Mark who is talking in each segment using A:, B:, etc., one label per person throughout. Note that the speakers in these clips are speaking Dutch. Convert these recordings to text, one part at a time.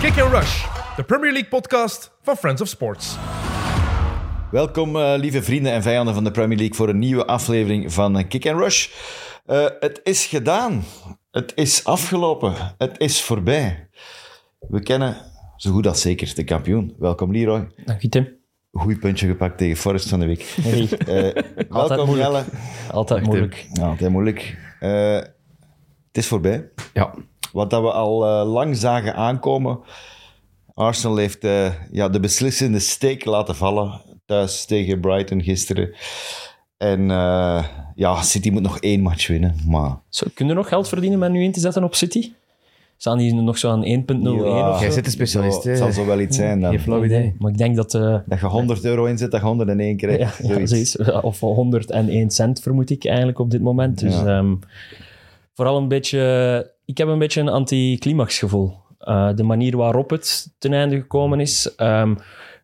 A: Kick and Rush, de Premier League podcast van Friends of Sports.
B: Welkom, eh, lieve vrienden en vijanden van de Premier League, voor een nieuwe aflevering van eh, Kick and Rush. Eh, het is gedaan. Het is afgelopen. Het is voorbij. We kennen zo goed als zeker de kampioen. Welkom, Leroy.
C: Dank je, Tim.
B: Goed puntje gepakt tegen Forest van de week.
C: Hey,
B: Eh, welkom,
C: moeilijk.
B: Jelle.
C: altijd moeilijk.
B: Ja, altijd Nou, moeilijk. Eh, het is voorbij.
C: Ja.
B: Wat dat we al eh, lang zagen aankomen. Arsenal heeft eh, ja, de beslissende steek laten vallen. Thuis tegen Brighton gisteren. En eh, ja, City moet nog één match winnen. Maar
C: Zo, kunnen we nog geld verdienen met nu in te zetten op City? Staan die nog zo aan 1.01 of
B: Ja,
C: zo?
D: Jij zit een
B: ja,
D: specialist, hè?
B: Het zal zo wel iets zijn dan.
D: Geen flauw idee.
C: Maar ik denk dat... eh,
B: Dat je 100 euro inzet, dat je 101 krijgt.
C: ja, ja,
B: Zoiets.
C: zoiets. Of 101 cent, vermoed ik eigenlijk op dit moment. Dus
B: Ja.
C: ehm, vooral een beetje... Ik heb een beetje een anticlimax gevoel. Eh, de manier waarop het ten einde gekomen is. Ehm,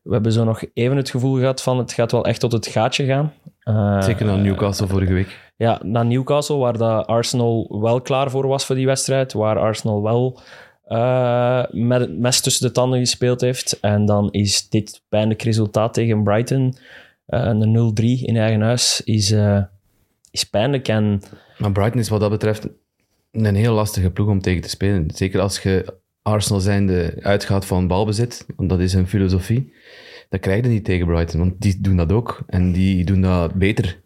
C: we hebben zo nog even het gevoel gehad van het gaat wel echt tot het gaatje gaan. Eh,
D: Zeker naar Newcastle vorige week.
C: ja, naar Newcastle, waar dat Arsenal wel klaar voor was voor die wedstrijd. Waar Arsenal wel eh, met het mes tussen de tanden gespeeld heeft. En dan is dit pijnlijk resultaat tegen Brighton. eh, een 0-3 in eigen huis is, eh, is pijnlijk. En
D: Maar Brighton is wat dat betreft een heel lastige ploeg om tegen te spelen. Zeker als je Arsenal zijnde uitgaat van balbezit, want dat is hun filosofie. Dat krijg je niet tegen Brighton, want die doen dat ook. En die doen dat beter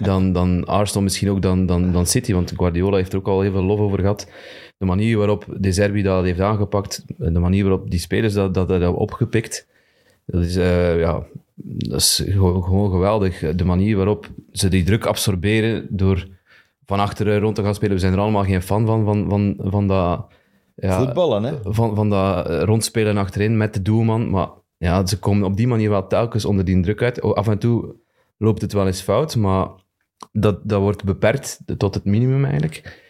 D: dan, dan Arsenal, misschien ook dan, dan, dan City. Want Guardiola heeft er ook al heel veel lof over gehad. De manier waarop De Zerbi dat heeft aangepakt, de manier waarop die spelers dat, dat, dat hebben opgepikt. Dat is, eh, ja, dat is gewoon, gewoon geweldig. De manier waarop ze die druk absorberen door van achteren rond te gaan spelen. We zijn er allemaal geen fan van, van, van, van dat... ja,
B: Voetballen, hè?
D: van, van dat eh, rondspelen achterin met de doelman. Maar ja, ze komen op die manier wel telkens onder die druk uit. O, Af en toe loopt het wel eens fout, maar dat, dat wordt beperkt tot het minimum eigenlijk.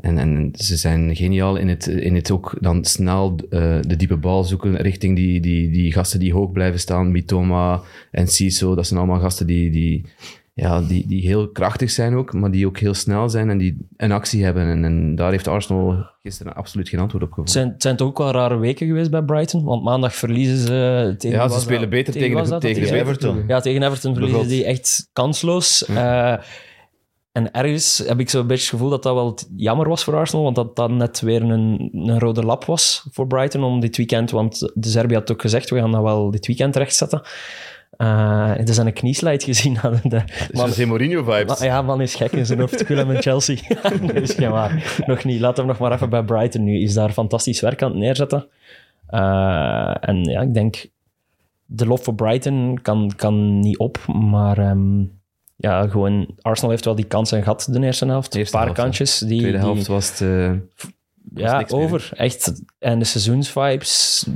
D: En, en ze zijn geniaal in het, in het ook dan snel eh, de diepe bal zoeken richting die, die, die gasten die hoog blijven staan. Mitoma en Siso, dat zijn allemaal gasten die, die, ja, die, die heel krachtig zijn ook, maar die ook heel snel zijn en die een actie hebben. En, en daar heeft Arsenal gisteren absoluut geen antwoord op gevonden.
C: het zijn, het zijn toch ook wel rare weken geweest bij Brighton. Want maandag verliezen ze eh, tegen...
D: Ja,
C: was
D: ze
C: dat-
D: spelen beter tegen,
C: was
D: de,
C: dat?
D: tegen
B: Tegen
D: de
B: Everton.
C: Ja, tegen Everton verliezen
B: Begot.
C: die echt kansloos. Eh, en ergens heb ik zo'n beetje het gevoel dat dat wel t- jammer was voor Arsenal, want dat dat net weer een, een rode lap was voor Brighton om dit weekend, want de Serbië had ook gezegd, we gaan dat wel dit weekend rechtzetten. Eh er is een knieslijt gezien. aan de, man,
D: José Mourinho vibes.
C: Ah, ja, man is gek in zijn hoofd. Ik wil hem in Chelsea. nee, is geen waar. Nog niet. Laat hem nog maar even bij Brighton nu. Is daar fantastisch werk aan het neerzetten. Eh, en ja, ik denk... De lof voor Brighton kan, kan niet op, maar... ehm, ja, gewoon... Arsenal heeft wel die kansen gehad de eerste helft. Een
D: Eerste
C: paar
D: helft, hè.
C: kantjes. Die,
D: tweede
C: die-
D: helft was het. eh, was
C: ja,
D: niks meer.
C: over. Echt. En de seizoensvibes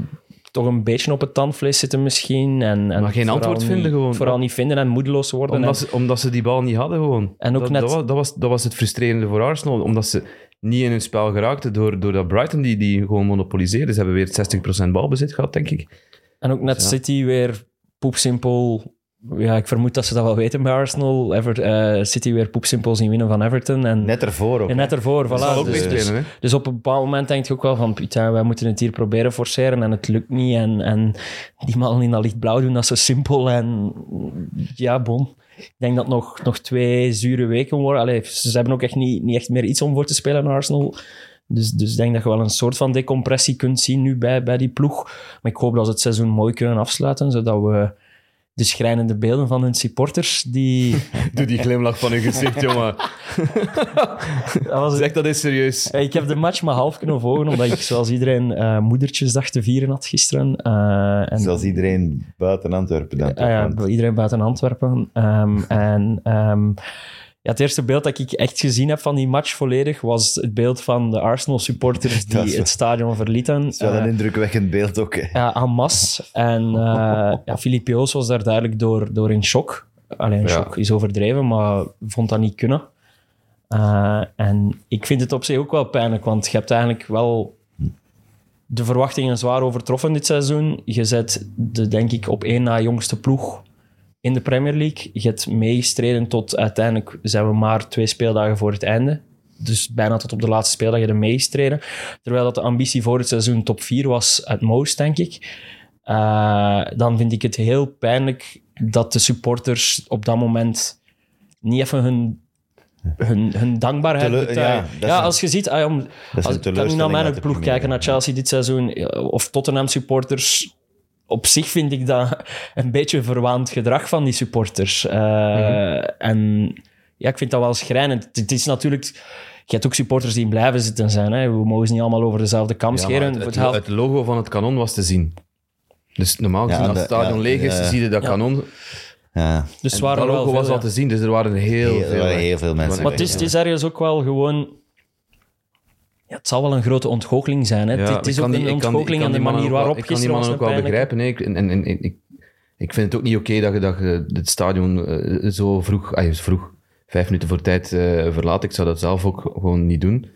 C: toch een beetje op het tandvlees zitten misschien. En, en
D: Maar geen
C: vooral
D: antwoord
C: niet-
D: vinden gewoon.
C: Vooral niet vinden en moedeloos worden. en-
D: omdat, ze, omdat ze die bal niet hadden gewoon.
C: En ook
D: dat,
C: net-
D: dat, was, dat, was, dat was het frustrerende voor Arsenal. Omdat ze niet in hun spel geraakten door, door dat Brighton die, die gewoon monopoliseerde. Ze hebben weer 60% balbezit gehad, denk ik.
C: En ook net
D: ja.
C: City weer poepsimpel. Ja, ik vermoed dat ze dat wel weten bij Arsenal. Ever, eh, City weer poepsimpel zien winnen van Everton. En
B: Net ervoor ook.
C: en net ervoor,
D: Dat zal
C: voilà.
D: ook
C: Dus, dus,
D: meespelen, hè?
C: dus op een bepaald moment denk je ook wel van, putain, wij moeten het hier proberen forceren en het lukt niet. En, en die mannen in dat lichtblauw doen dat zo simpel. En ja, bon. Ik denk dat nog, nog twee zure weken worden. Allee, ze hebben ook echt niet, niet echt meer iets om voor te spelen aan Arsenal. Dus dus ik denk dat je wel een soort van decompressie kunt zien nu bij, bij die ploeg. Maar ik hoop dat ze het seizoen mooi kunnen afsluiten, zodat we de schrijnende beelden van hun supporters, die...
D: Doe die glimlach van hun gezicht, jongen.
C: Dat was
D: Zeg dat is serieus.
C: Ja, Eh, Ik heb de match maar half kunnen volgen, omdat ik zoals iedereen eh moedertjesdag te vieren had gisteren. Eh, en,
B: Zoals iedereen buiten Antwerpen dan. toch,
C: Ah ja,
B: want-
C: iedereen buiten Antwerpen. Ehm, en ehm, ja, het eerste beeld dat ik echt gezien heb van die match volledig was het beeld van de Arsenal supporters die
B: Dat is wel-
C: het stadion verlieten. Eh,
B: Het is wel een indrukwekkend beeld ook. hè.
C: Ja, en masse. En eh ja, Filip Joos was daar duidelijk door, door in shock. Alleen
D: Ja.
C: shock is overdreven, maar vond dat niet kunnen. Eh, en ik vind het op zich ook wel pijnlijk, want je hebt eigenlijk wel de verwachtingen zwaar overtroffen dit seizoen. Je zet de, denk ik, op één na jongste ploeg in de Premier League. Je hebt meegestreden tot uiteindelijk zijn we maar twee speeldagen voor het einde. dus bijna tot op de laatste speeldag ermee is treden. Terwijl dat de ambitie voor het seizoen top 4 was, at most, denk ik. Eh, dan vind ik het heel pijnlijk dat de supporters op dat moment niet even hun, hun, hun dankbaarheid
B: Tele- ja,
C: betuigen.
B: dat
C: Ja,
B: is een-
C: als je ziet, ah, om, als, ik kan nu naar
B: teleurstelling
C: mijn
B: uit de
C: ploeg
B: Premier
C: kijken, naar
B: League.
C: Chelsea dit seizoen, eh, of Tottenham supporters. Op zich vind ik dat een beetje verwaand gedrag van die supporters. Eh,
D: Mhm.
C: En ja, ik vind dat wel schrijnend. Het- Het is natuurlijk... Je hebt ook supporters die blijven zitten zijn. Hè. We mogen ze niet allemaal over dezelfde kam
D: Ja, maar
C: scheren.
D: het,
C: Voor
D: het,
C: het helft-
D: het logo van het kanon was te zien. Dus normaal gezien,
B: Ja,
D: als het
B: de-
D: stadion
B: ja,
D: leeg is,
B: ja.
D: zie je dat
C: Ja.
D: kanon.
B: Ja.
C: dus het
D: En
C: waren
D: dat
C: er wel
D: logo was
C: veel,
D: al
C: ja.
D: te zien, dus er waren er heel
B: Heel- er
D: veel.
B: waren
D: hè.
B: heel veel mensen
C: Maar het is, het is ergens ook wel gewoon... Ja, het zal wel een grote ontgoocheling zijn. Hè.
D: Ja,
C: het, het
D: ik
C: is ook
D: kan die-
C: een
D: ik kan die-
C: ontgoocheling
D: ik
C: aan
D: kan
C: de
D: die mannen
C: manier
D: ook wel-
C: waarop
D: Ik kan die
C: gisteren was
D: mannen ook wel
C: het pijnlijk.
D: begrijpen. hè. Ik- en, en, en, ik, ik vind het ook niet oké dat je, dat je het stadion eh, zo vroeg, ah, is vroeg, vijf minuten voor tijd eh, verlaat. Ik zou dat zelf ook gewoon niet doen.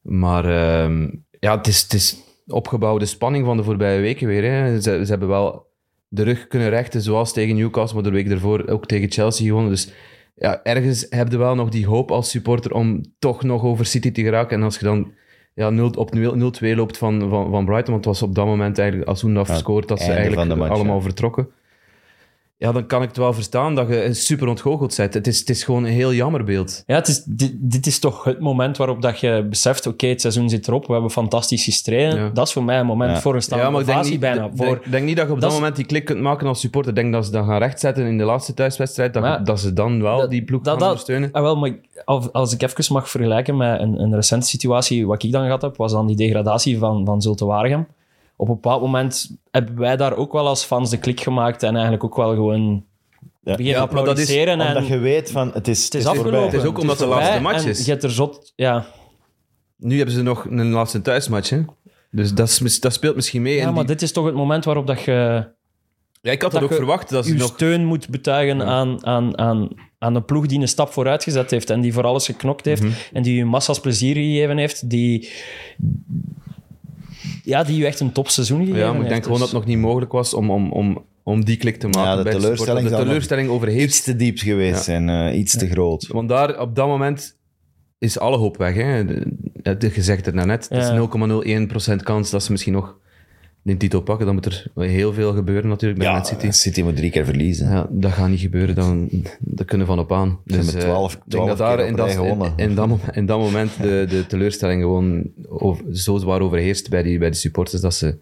D: Maar ehm, ja, het is, het is opgebouwde spanning van de voorbije weken weer. Hè. Ze, ze hebben wel de rug kunnen rechten, zoals tegen Newcastle, maar de week daarvoor ook tegen Chelsea gewonnen. Dus ja, ergens heb je wel nog die hoop als supporter om toch nog over City te geraken. En als je dan ja, 0, op 0 0-2 loopt van, van, van Brighton, want het was op dat moment eigenlijk, als Hoendaf
B: Ja,
D: scoort, dat ze
B: einde
D: eigenlijk
B: van de match,
D: allemaal
B: ja.
D: vertrokken. Ja, dan kan ik het wel verstaan dat je eh, super ontgoocheld bent. Het is, het is gewoon een heel jammer beeld.
C: Ja, het is, dit, dit is toch het moment waarop dat je beseft, oké, het seizoen zit erop, we hebben fantastisch gestreden.
D: Ja.
C: Dat is voor mij een moment
B: Ja.
C: voor een staande
D: ja, maar ik denk
C: ovatie
D: niet,
C: bijna.
D: ik
C: voor,
D: denk, denk niet dat je op dat,
C: is-
D: moment die klik kunt maken als supporter. Ik denk dat ze dat gaan rechtzetten in de laatste thuiswedstrijd, dat, je-
C: Maar-
D: dat ze dan wel
C: dat-
D: die ploeg
C: dat-
D: gaan
C: dat-
D: ondersteunen.
C: Ah, wel, maar ik- als, als ik even mag vergelijken met een, een recente situatie, wat ik dan gehad heb, was dan die degradatie van, van Zulte Waregem. Op een bepaald moment hebben wij daar ook wel als fans de klik gemaakt en eigenlijk ook wel gewoon
B: Ja.
C: beginnen
D: Ja, maar dat is-
C: applaudisseren. en
B: Omdat je weet van, het is,
C: het is afgelopen.
B: voorbij.
D: Het is ook omdat de laatste
C: voorbij
D: match
C: en
D: is.
C: Je hebt er zot... Ja,
D: Nu hebben ze nog een laatste thuismatch, hè. Dus dat, is mis- dat speelt misschien mee. En
C: ja maar
D: die-
C: dit is toch het moment waarop dat je...
D: ja, ik had
C: dat
D: dat ook
C: je-
D: verwacht. Dat ze
C: uw
D: nog
C: steun moet betuigen aan, aan, aan, aan een ploeg die een stap vooruit gezet heeft en die voor alles geknokt heeft
D: Mhm.
C: en die u massa's plezier gegeven heeft, die, ja, die u echt een topseizoen gegeven
D: Ja,
C: heeft.
D: maar ik denk gewoon dat
C: Dus
D: het nog niet mogelijk was om, om, om, om die klik te maken.
B: Ja, de
D: bij
B: teleurstelling
D: supporters.
B: zal
D: de
B: nog-
D: teleurstelling
B: Iets
D: overheerst.
B: te diep geweest en eh, iets te groot.
D: Want daar, op dat moment is alle hoop weg. Hè. De- de- de- Je zegt het net.
C: Ja.
D: Het is 0,01% kans dat ze misschien nog de titel pakken. Dan moet er heel veel gebeuren natuurlijk bij
B: Ja,
D: Man City.
B: moet drie keer verliezen.
D: Ja, dat gaat niet gebeuren. Dan, dat kunnen we van op aan. Dus
B: hebben
D: eh,
B: 12
D: ik denk
B: 12
D: dat
B: keer
D: daar
B: op
D: in
B: rij
D: dat, in,
B: gewonnen.
D: in dat, mom- in dat moment de, de teleurstelling gewoon over, zo zwaar overheerst bij die, bij die supporters dat ze,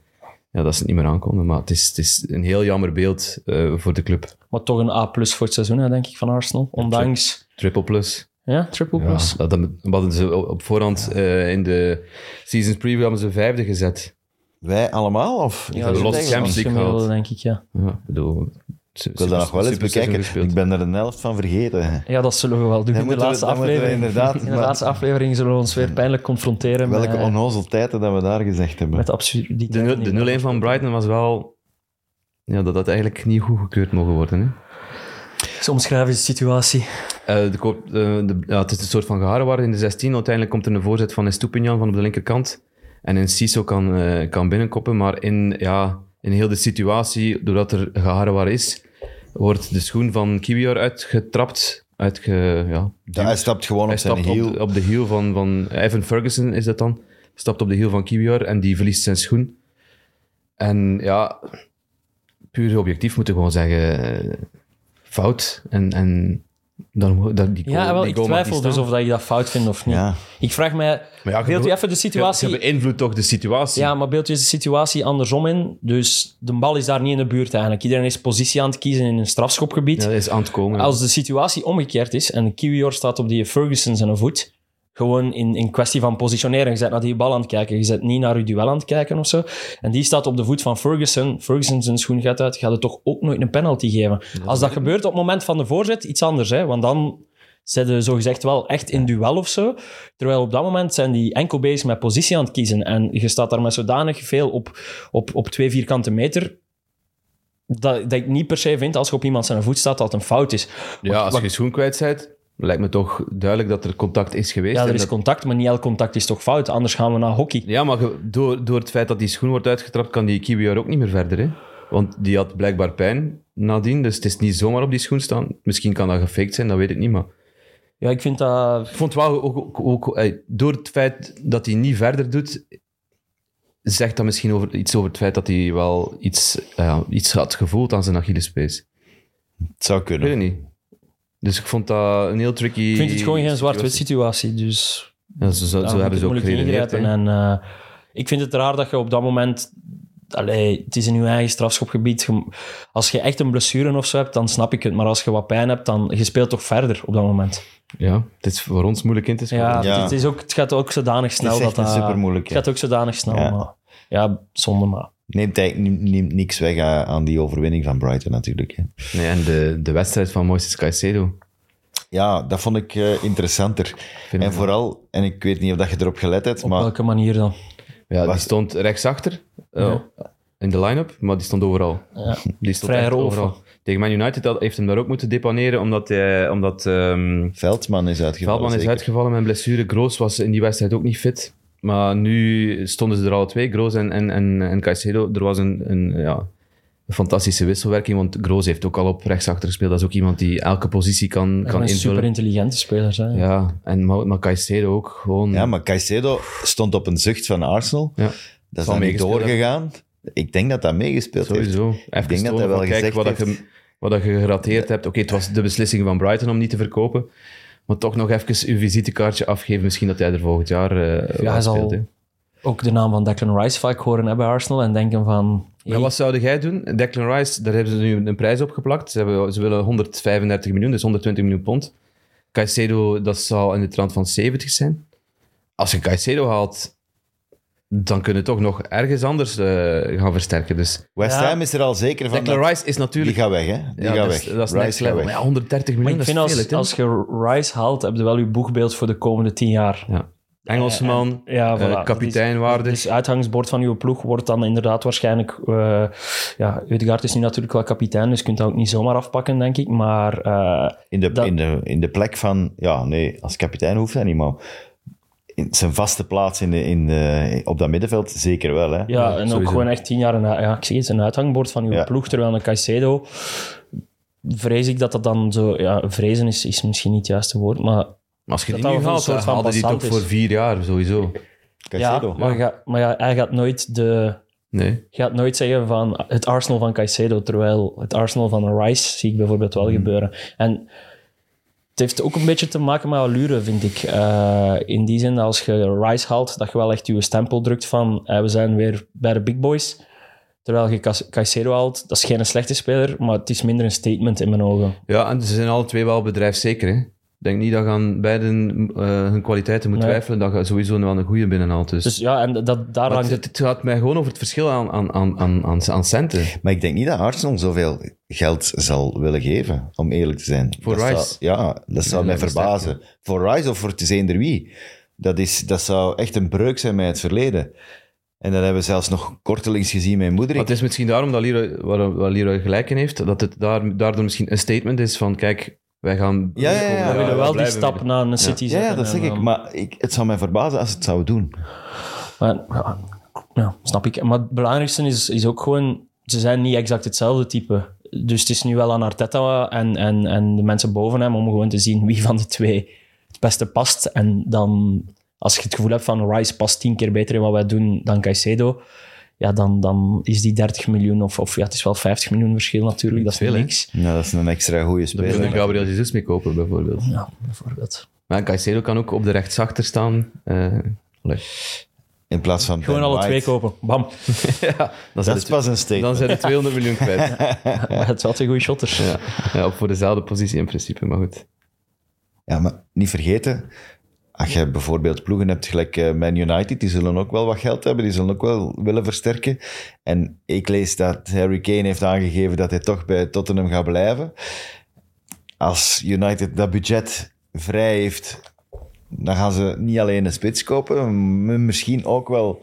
D: ja, dat ze het niet meer aankonden. Maar het is, het is een heel jammer beeld eh, voor de club.
C: maar toch een A plus voor het seizoen, hè, denk ik, van Arsenal. Ondanks...
D: Triple plus.
C: Ja, triple
D: Ja,
C: plus.
D: dat, dat hadden ze op op voorhand eh, in de seasons preview hebben ze vijfde gezet.
B: Wij allemaal? Of?
C: Ja,
D: hebben
C: dat
D: losse
C: is
D: Champions
C: het
D: League
C: gemiddelde,
D: gehaald.
C: denk ik, ja.
D: Ja, ik bedoel,
B: Ik wil dat nog wel eens bekijken. Ik ben er een helft van vergeten.
C: Ja, dat zullen we wel
B: Dan
C: doen in de
B: moeten we-
C: laatste
B: dan moeten we
C: aflevering.
B: inderdaad-
C: in de
B: maar-
C: laatste aflevering zullen we ons weer pijnlijk confronteren
B: Welke
C: met, eh,
B: onnozelteiten dat we daar gezegd hebben.
C: met de absurditeit.
D: De, nul-
C: van die
D: de 0-1 van Brighton was wel... Ja, dat had eigenlijk niet goedgekeurd mogen worden. Hè?
C: Ze omschrijven de situatie.
D: Eh, de koop- eh, de- ja, het is een soort van geharrewaard in de 16. Uiteindelijk komt er een voorzet van Estupinian van op de linkerkant. En een Siso kan, eh, kan binnenkoppen. Maar in, ja, in heel de situatie, doordat er geharrewaard is, wordt de schoen van Kiwior uitgetrapt. Uitge, ja,
B: Ja, hij stapt gewoon
D: hij
B: op zijn
D: stapt
B: hiel.
D: op, de- op de hiel van, van Evan Ferguson, is dat dan. Stapt op de hiel van Kiwior en die verliest zijn schoen. En ja, puur objectief moet ik gewoon zeggen, eh, fout. En, en dan, mo- dat, die goal,
C: Ja, wel,
D: die
C: ik
D: goal mag niet
C: twijfel dus
D: staan.
C: of dat je dat fout vindt of niet.
B: Ja.
C: Ik vraag mij,
D: Maar ja, je
C: beeld je
D: bedoel-
C: even de
D: Je, je
C: situatie...
D: beïnvloedt toch de situatie.
C: Ja, maar beeld je de situatie andersom in. Dus de bal is daar niet in de buurt eigenlijk. Iedereen is positie aan het kiezen in een strafschopgebied.
D: Ja, dat is aan het komen.
C: Als de situatie omgekeerd is en Kiwior staat op die Ferguson zijn voet, gewoon in, in kwestie van positioneren. Je zet naar die bal aan het kijken, je zet niet naar je duel aan het kijken of zo. En die staat op de voet van Ferguson. Ferguson zijn schoen gaat uit, gaat het toch ook nooit een penalty geven. Als dat gebeurt op het moment van de voorzet, iets anders. Hè? Want dan zijn ze zogezegd wel echt in duel of zo. Terwijl op dat moment zijn die enkel bezig met positie aan het kiezen. En je staat daar met zodanig veel op, op, op twee vierkante meter... Dat, dat ik niet per se vind als je op iemand zijn voet staat dat het een fout is.
D: ja, als je je schoen kwijt bent, lijkt me toch duidelijk dat er contact is geweest.
C: Ja,
D: en
C: er is
D: dat-
C: contact, maar niet elk contact is toch fout. Anders gaan we naar hockey.
D: ja maar ge- door, door het feit dat die schoen wordt uitgetrapt, kan die Kiwior ook niet meer verder. Hè? Want die had blijkbaar pijn nadien, dus het is niet zomaar op die schoen staan. Misschien kan dat gefaked zijn, dat weet ik niet, maar...
C: Ja, ik vind dat...
D: Ik vond wel ook, ook, ook- eh, door het feit dat hij niet verder doet, zegt dat misschien over, iets over het feit dat hij wel iets, eh, iets had gevoeld aan zijn Achillespees.
B: Het zou
D: Ik weet
B: kunnen.
D: het niet. Dus ik vond dat een heel tricky.
C: Ik vind het gewoon geen zwart-wit situatie, dus...
D: Ja, zo zo,
C: Ja,
D: zo
C: moet
D: hebben
C: ik
D: ze ook
C: moeilijk
D: geredeneerd. hè.
C: ingrijpen. En, eh, ik vind het raar dat je op dat moment... Allee, het is in je eigen strafschopgebied. Je- Als je echt een blessure of zo hebt, dan snap ik het. Maar als je wat pijn hebt, dan je speelt toch verder op dat moment.
D: Ja, het is voor ons moeilijk in te schatten.
C: Ja,
B: Ja.
C: Het, is ook, het gaat ook zodanig snel.
B: echt
C: dat,
B: een
C: dat-
B: supermoeilijke.
C: Het gaat ook zodanig snel.
B: Ja.
C: Maar, ja, zonde maar.
B: Neemt, eigenlijk- neemt niks weg aan aan die overwinning van Brighton natuurlijk. Hè.
D: Nee, en de, de wedstrijd van Moises Caicedo.
B: Ja, dat vond ik eh, interessanter.
D: Vind
B: En
D: ik-
B: vooral, en ik weet niet of dat je erop gelet hebt,
C: Op
B: maar
C: welke manier dan?
D: Oh. Ja, die
B: Wacht.
D: stond rechtsachter eh, in de line-up, maar die stond overal.
C: Ja.
D: Die stond
C: Vrij
D: echt
C: rol,
D: overal. Tegen Man United had- heeft hem daar ook moeten depaneren, omdat, hij- omdat ehm,
B: Veldman is uitgevallen.
D: Veldman is
B: zeker.
D: uitgevallen met een blessure. Groos was in die wedstrijd ook niet fit. Maar nu stonden ze er alle twee, Groos en, en, en, en Caicedo. Er was een, een, ja, een fantastische wisselwerking, want Groos heeft ook al op rechtsachter gespeeld. Dat is ook iemand die elke positie kan, kan
C: een super
D: invullen.
C: intelligente speler zijn.
D: Ja, en, maar, maar Caicedo ook gewoon...
B: Ja, maar Caicedo stond op een zucht van Arsenal.
D: Ja.
B: Dat is
D: Zal
B: dan niet
D: meegespeeld
B: doorgegaan. Ik denk dat dat meegespeeld heeft.
D: Sowieso. Even
B: denk dat
D: stomen
B: hij wel
D: van, kijk,
B: gezegd
D: wat, dat
B: heeft.
D: je, wat dat je gerateerd hebt. Oké, het was de beslissing van Brighton om niet te verkopen. Maar toch nog even uw visitekaartje afgeven. Misschien dat hij er volgend jaar eh
C: Ja, hij
D: wel speelt.
C: zal
D: hè.
C: ook de naam van Declan Rice vaak horen hè, bij Arsenal en denken van...
D: Maar wat zou jij doen? Declan Rice, daar hebben ze nu een prijs op geplakt. Ze, hebben, ze willen 135 miljoen, dus 120 miljoen pond. Caicedo, dat zal in de trant van 70 zijn. Als je Caicedo haalt, dan kunnen we toch nog ergens anders eh, gaan versterken. Dus
B: West
C: Ja.
B: Ham is er al zeker van.
D: Declan
B: dat-
D: Rice is
B: Die
D: natuurlijk...
B: gaat weg, hè? Die
D: ja,
B: gaat
D: dat
B: weg.
D: is, dat is
B: Rice
D: next
B: gaat
D: level.
B: weg.
D: Maar ja, 130
C: Maar
D: miljoen,
C: ik
D: dat is
C: vind
D: veel.
C: als,
D: hè, Tim.
C: als je Rice haalt, heb je wel je boekbeeld voor de komende tien jaar.
D: Engelsman,
C: Ja, voilà.
D: eh,
C: Dat is-
D: kapiteinwaarde.
C: Dus uitgangsbord van uw ploeg wordt dan inderdaad waarschijnlijk... eh ja, Udegaard is nu natuurlijk wel kapitein, dus je kunt dat ook niet zomaar afpakken, denk ik. Maar eh,
B: In, de,
C: dat-
B: in, de, in de plek van. Ja, nee, als kapitein hoeft dat niet, maar. In zijn vaste plaats in de, in de, op dat middenveld zeker wel, hè?
C: ja, en ook
D: sowieso.
C: gewoon echt tien jaar een, ja, ik zeg het, een uithangbord van uw
B: Ja.
C: ploeg, terwijl een Caicedo... Vrees ik dat dat dan zo... Ja, vrezen is, is misschien niet het juiste woord, maar...
D: Als je
C: dat
D: die
C: dat wel
D: nu
C: een
D: haalt,
C: soort
D: dan
C: van
D: haalde die het ook
C: passant is.
D: voor vier jaar, sowieso.
B: Caicedo.
C: Ja, maar, hij gaat- maar ja, hij gaat nooit de...
D: Nee.
C: Je gaat nooit zeggen van het Arsenal van Caicedo, terwijl het Arsenal van Rice zie ik bijvoorbeeld wel gebeuren. En het heeft ook een beetje te maken met allure, vind ik. Eh, in die zin dat als je Rice haalt, dat je wel echt je stempel drukt van eh, we zijn weer bij de big boys. Terwijl je Cas- Caicedo haalt, dat is geen slechte speler, maar het is minder een statement in mijn ogen.
D: Ja, en ze zijn alle twee wel bedrijfszeker. hè. Ik denk niet dat je aan beiden eh, hun kwaliteiten moet
C: Nee.
D: twijfelen, dat je sowieso wel een goede binnenhaalt. Dus.
C: Dus ja, en dat, daar
D: Maar
C: hangt
D: het,
C: het...
D: het gaat mij gewoon over het verschil aan, aan, aan, aan, aan, aan centen.
B: Maar ik denk niet dat Arsenal zoveel geld zal willen geven, om eerlijk te zijn.
D: Voor
B: dat
D: Rice?
B: Zou, ja, dat zou
D: dat
B: mij
D: is sterk,
B: verbazen. Voor Rice of voor het is eender wie. Dat, is, dat zou echt een breuk zijn met het verleden. En dat hebben we zelfs nog kortelings gezien met
D: Maar
B: Moederik.
D: het is misschien daarom dat Leroy, waar, waar Leroy gelijk in heeft, dat het daar, daardoor misschien een statement is van, kijk, wij gaan...
B: Ja, ja, ja,
D: we
B: we
C: We willen wel die
D: blijven
C: stap
D: winnen.
C: naar een City
B: Ja, ja,
C: zetten
B: dat
C: en eh,
B: zeg ik.
C: dan-
B: Maar ik, het zou mij verbazen als ze het zou doen.
C: Maar, ja, ja, snap ik. Maar het belangrijkste is, is ook gewoon... Ze zijn niet exact hetzelfde type. Dus het is nu wel aan Arteta en, en, en de mensen boven hem om gewoon te zien wie van de twee het beste past. En dan, als je het gevoel hebt van Rice past tien keer beter in wat wij doen dan Caicedo, ja, dan, dan is die 30 miljoen of, of ja, het is wel 50 miljoen verschil natuurlijk. Dat is
D: Veel, hè?
C: niks.
B: Nou, dat is een extra goede
D: Daar
B: speler.
D: kunnen we Gabriel Jesus mee kopen, bijvoorbeeld.
C: Ja, bijvoorbeeld.
D: Maar Caicedo kan ook op de rechtsachter staan. Eh, allee.
B: In plaats van
C: Gewoon
B: Ben
C: alle
B: White.
C: twee kopen. Bam.
D: dan,
B: Dat
D: zijn
B: is
D: de,
B: pas een
D: dan
B: statement.
D: zijn de 200 miljoen kwijt.
C: Maar het is wel twee goede shotters.
D: Ja. Ja, op voor dezelfde positie in principe, maar goed.
B: Ja, maar niet vergeten, als je bijvoorbeeld ploegen hebt gelijk eh, Man United, die zullen ook wel wat geld hebben, die zullen ook wel willen versterken. En ik lees dat Harry Kane heeft aangegeven dat hij toch bij Tottenham gaat blijven. Als United dat budget vrij heeft, dan gaan ze niet alleen een spits kopen, maar misschien ook wel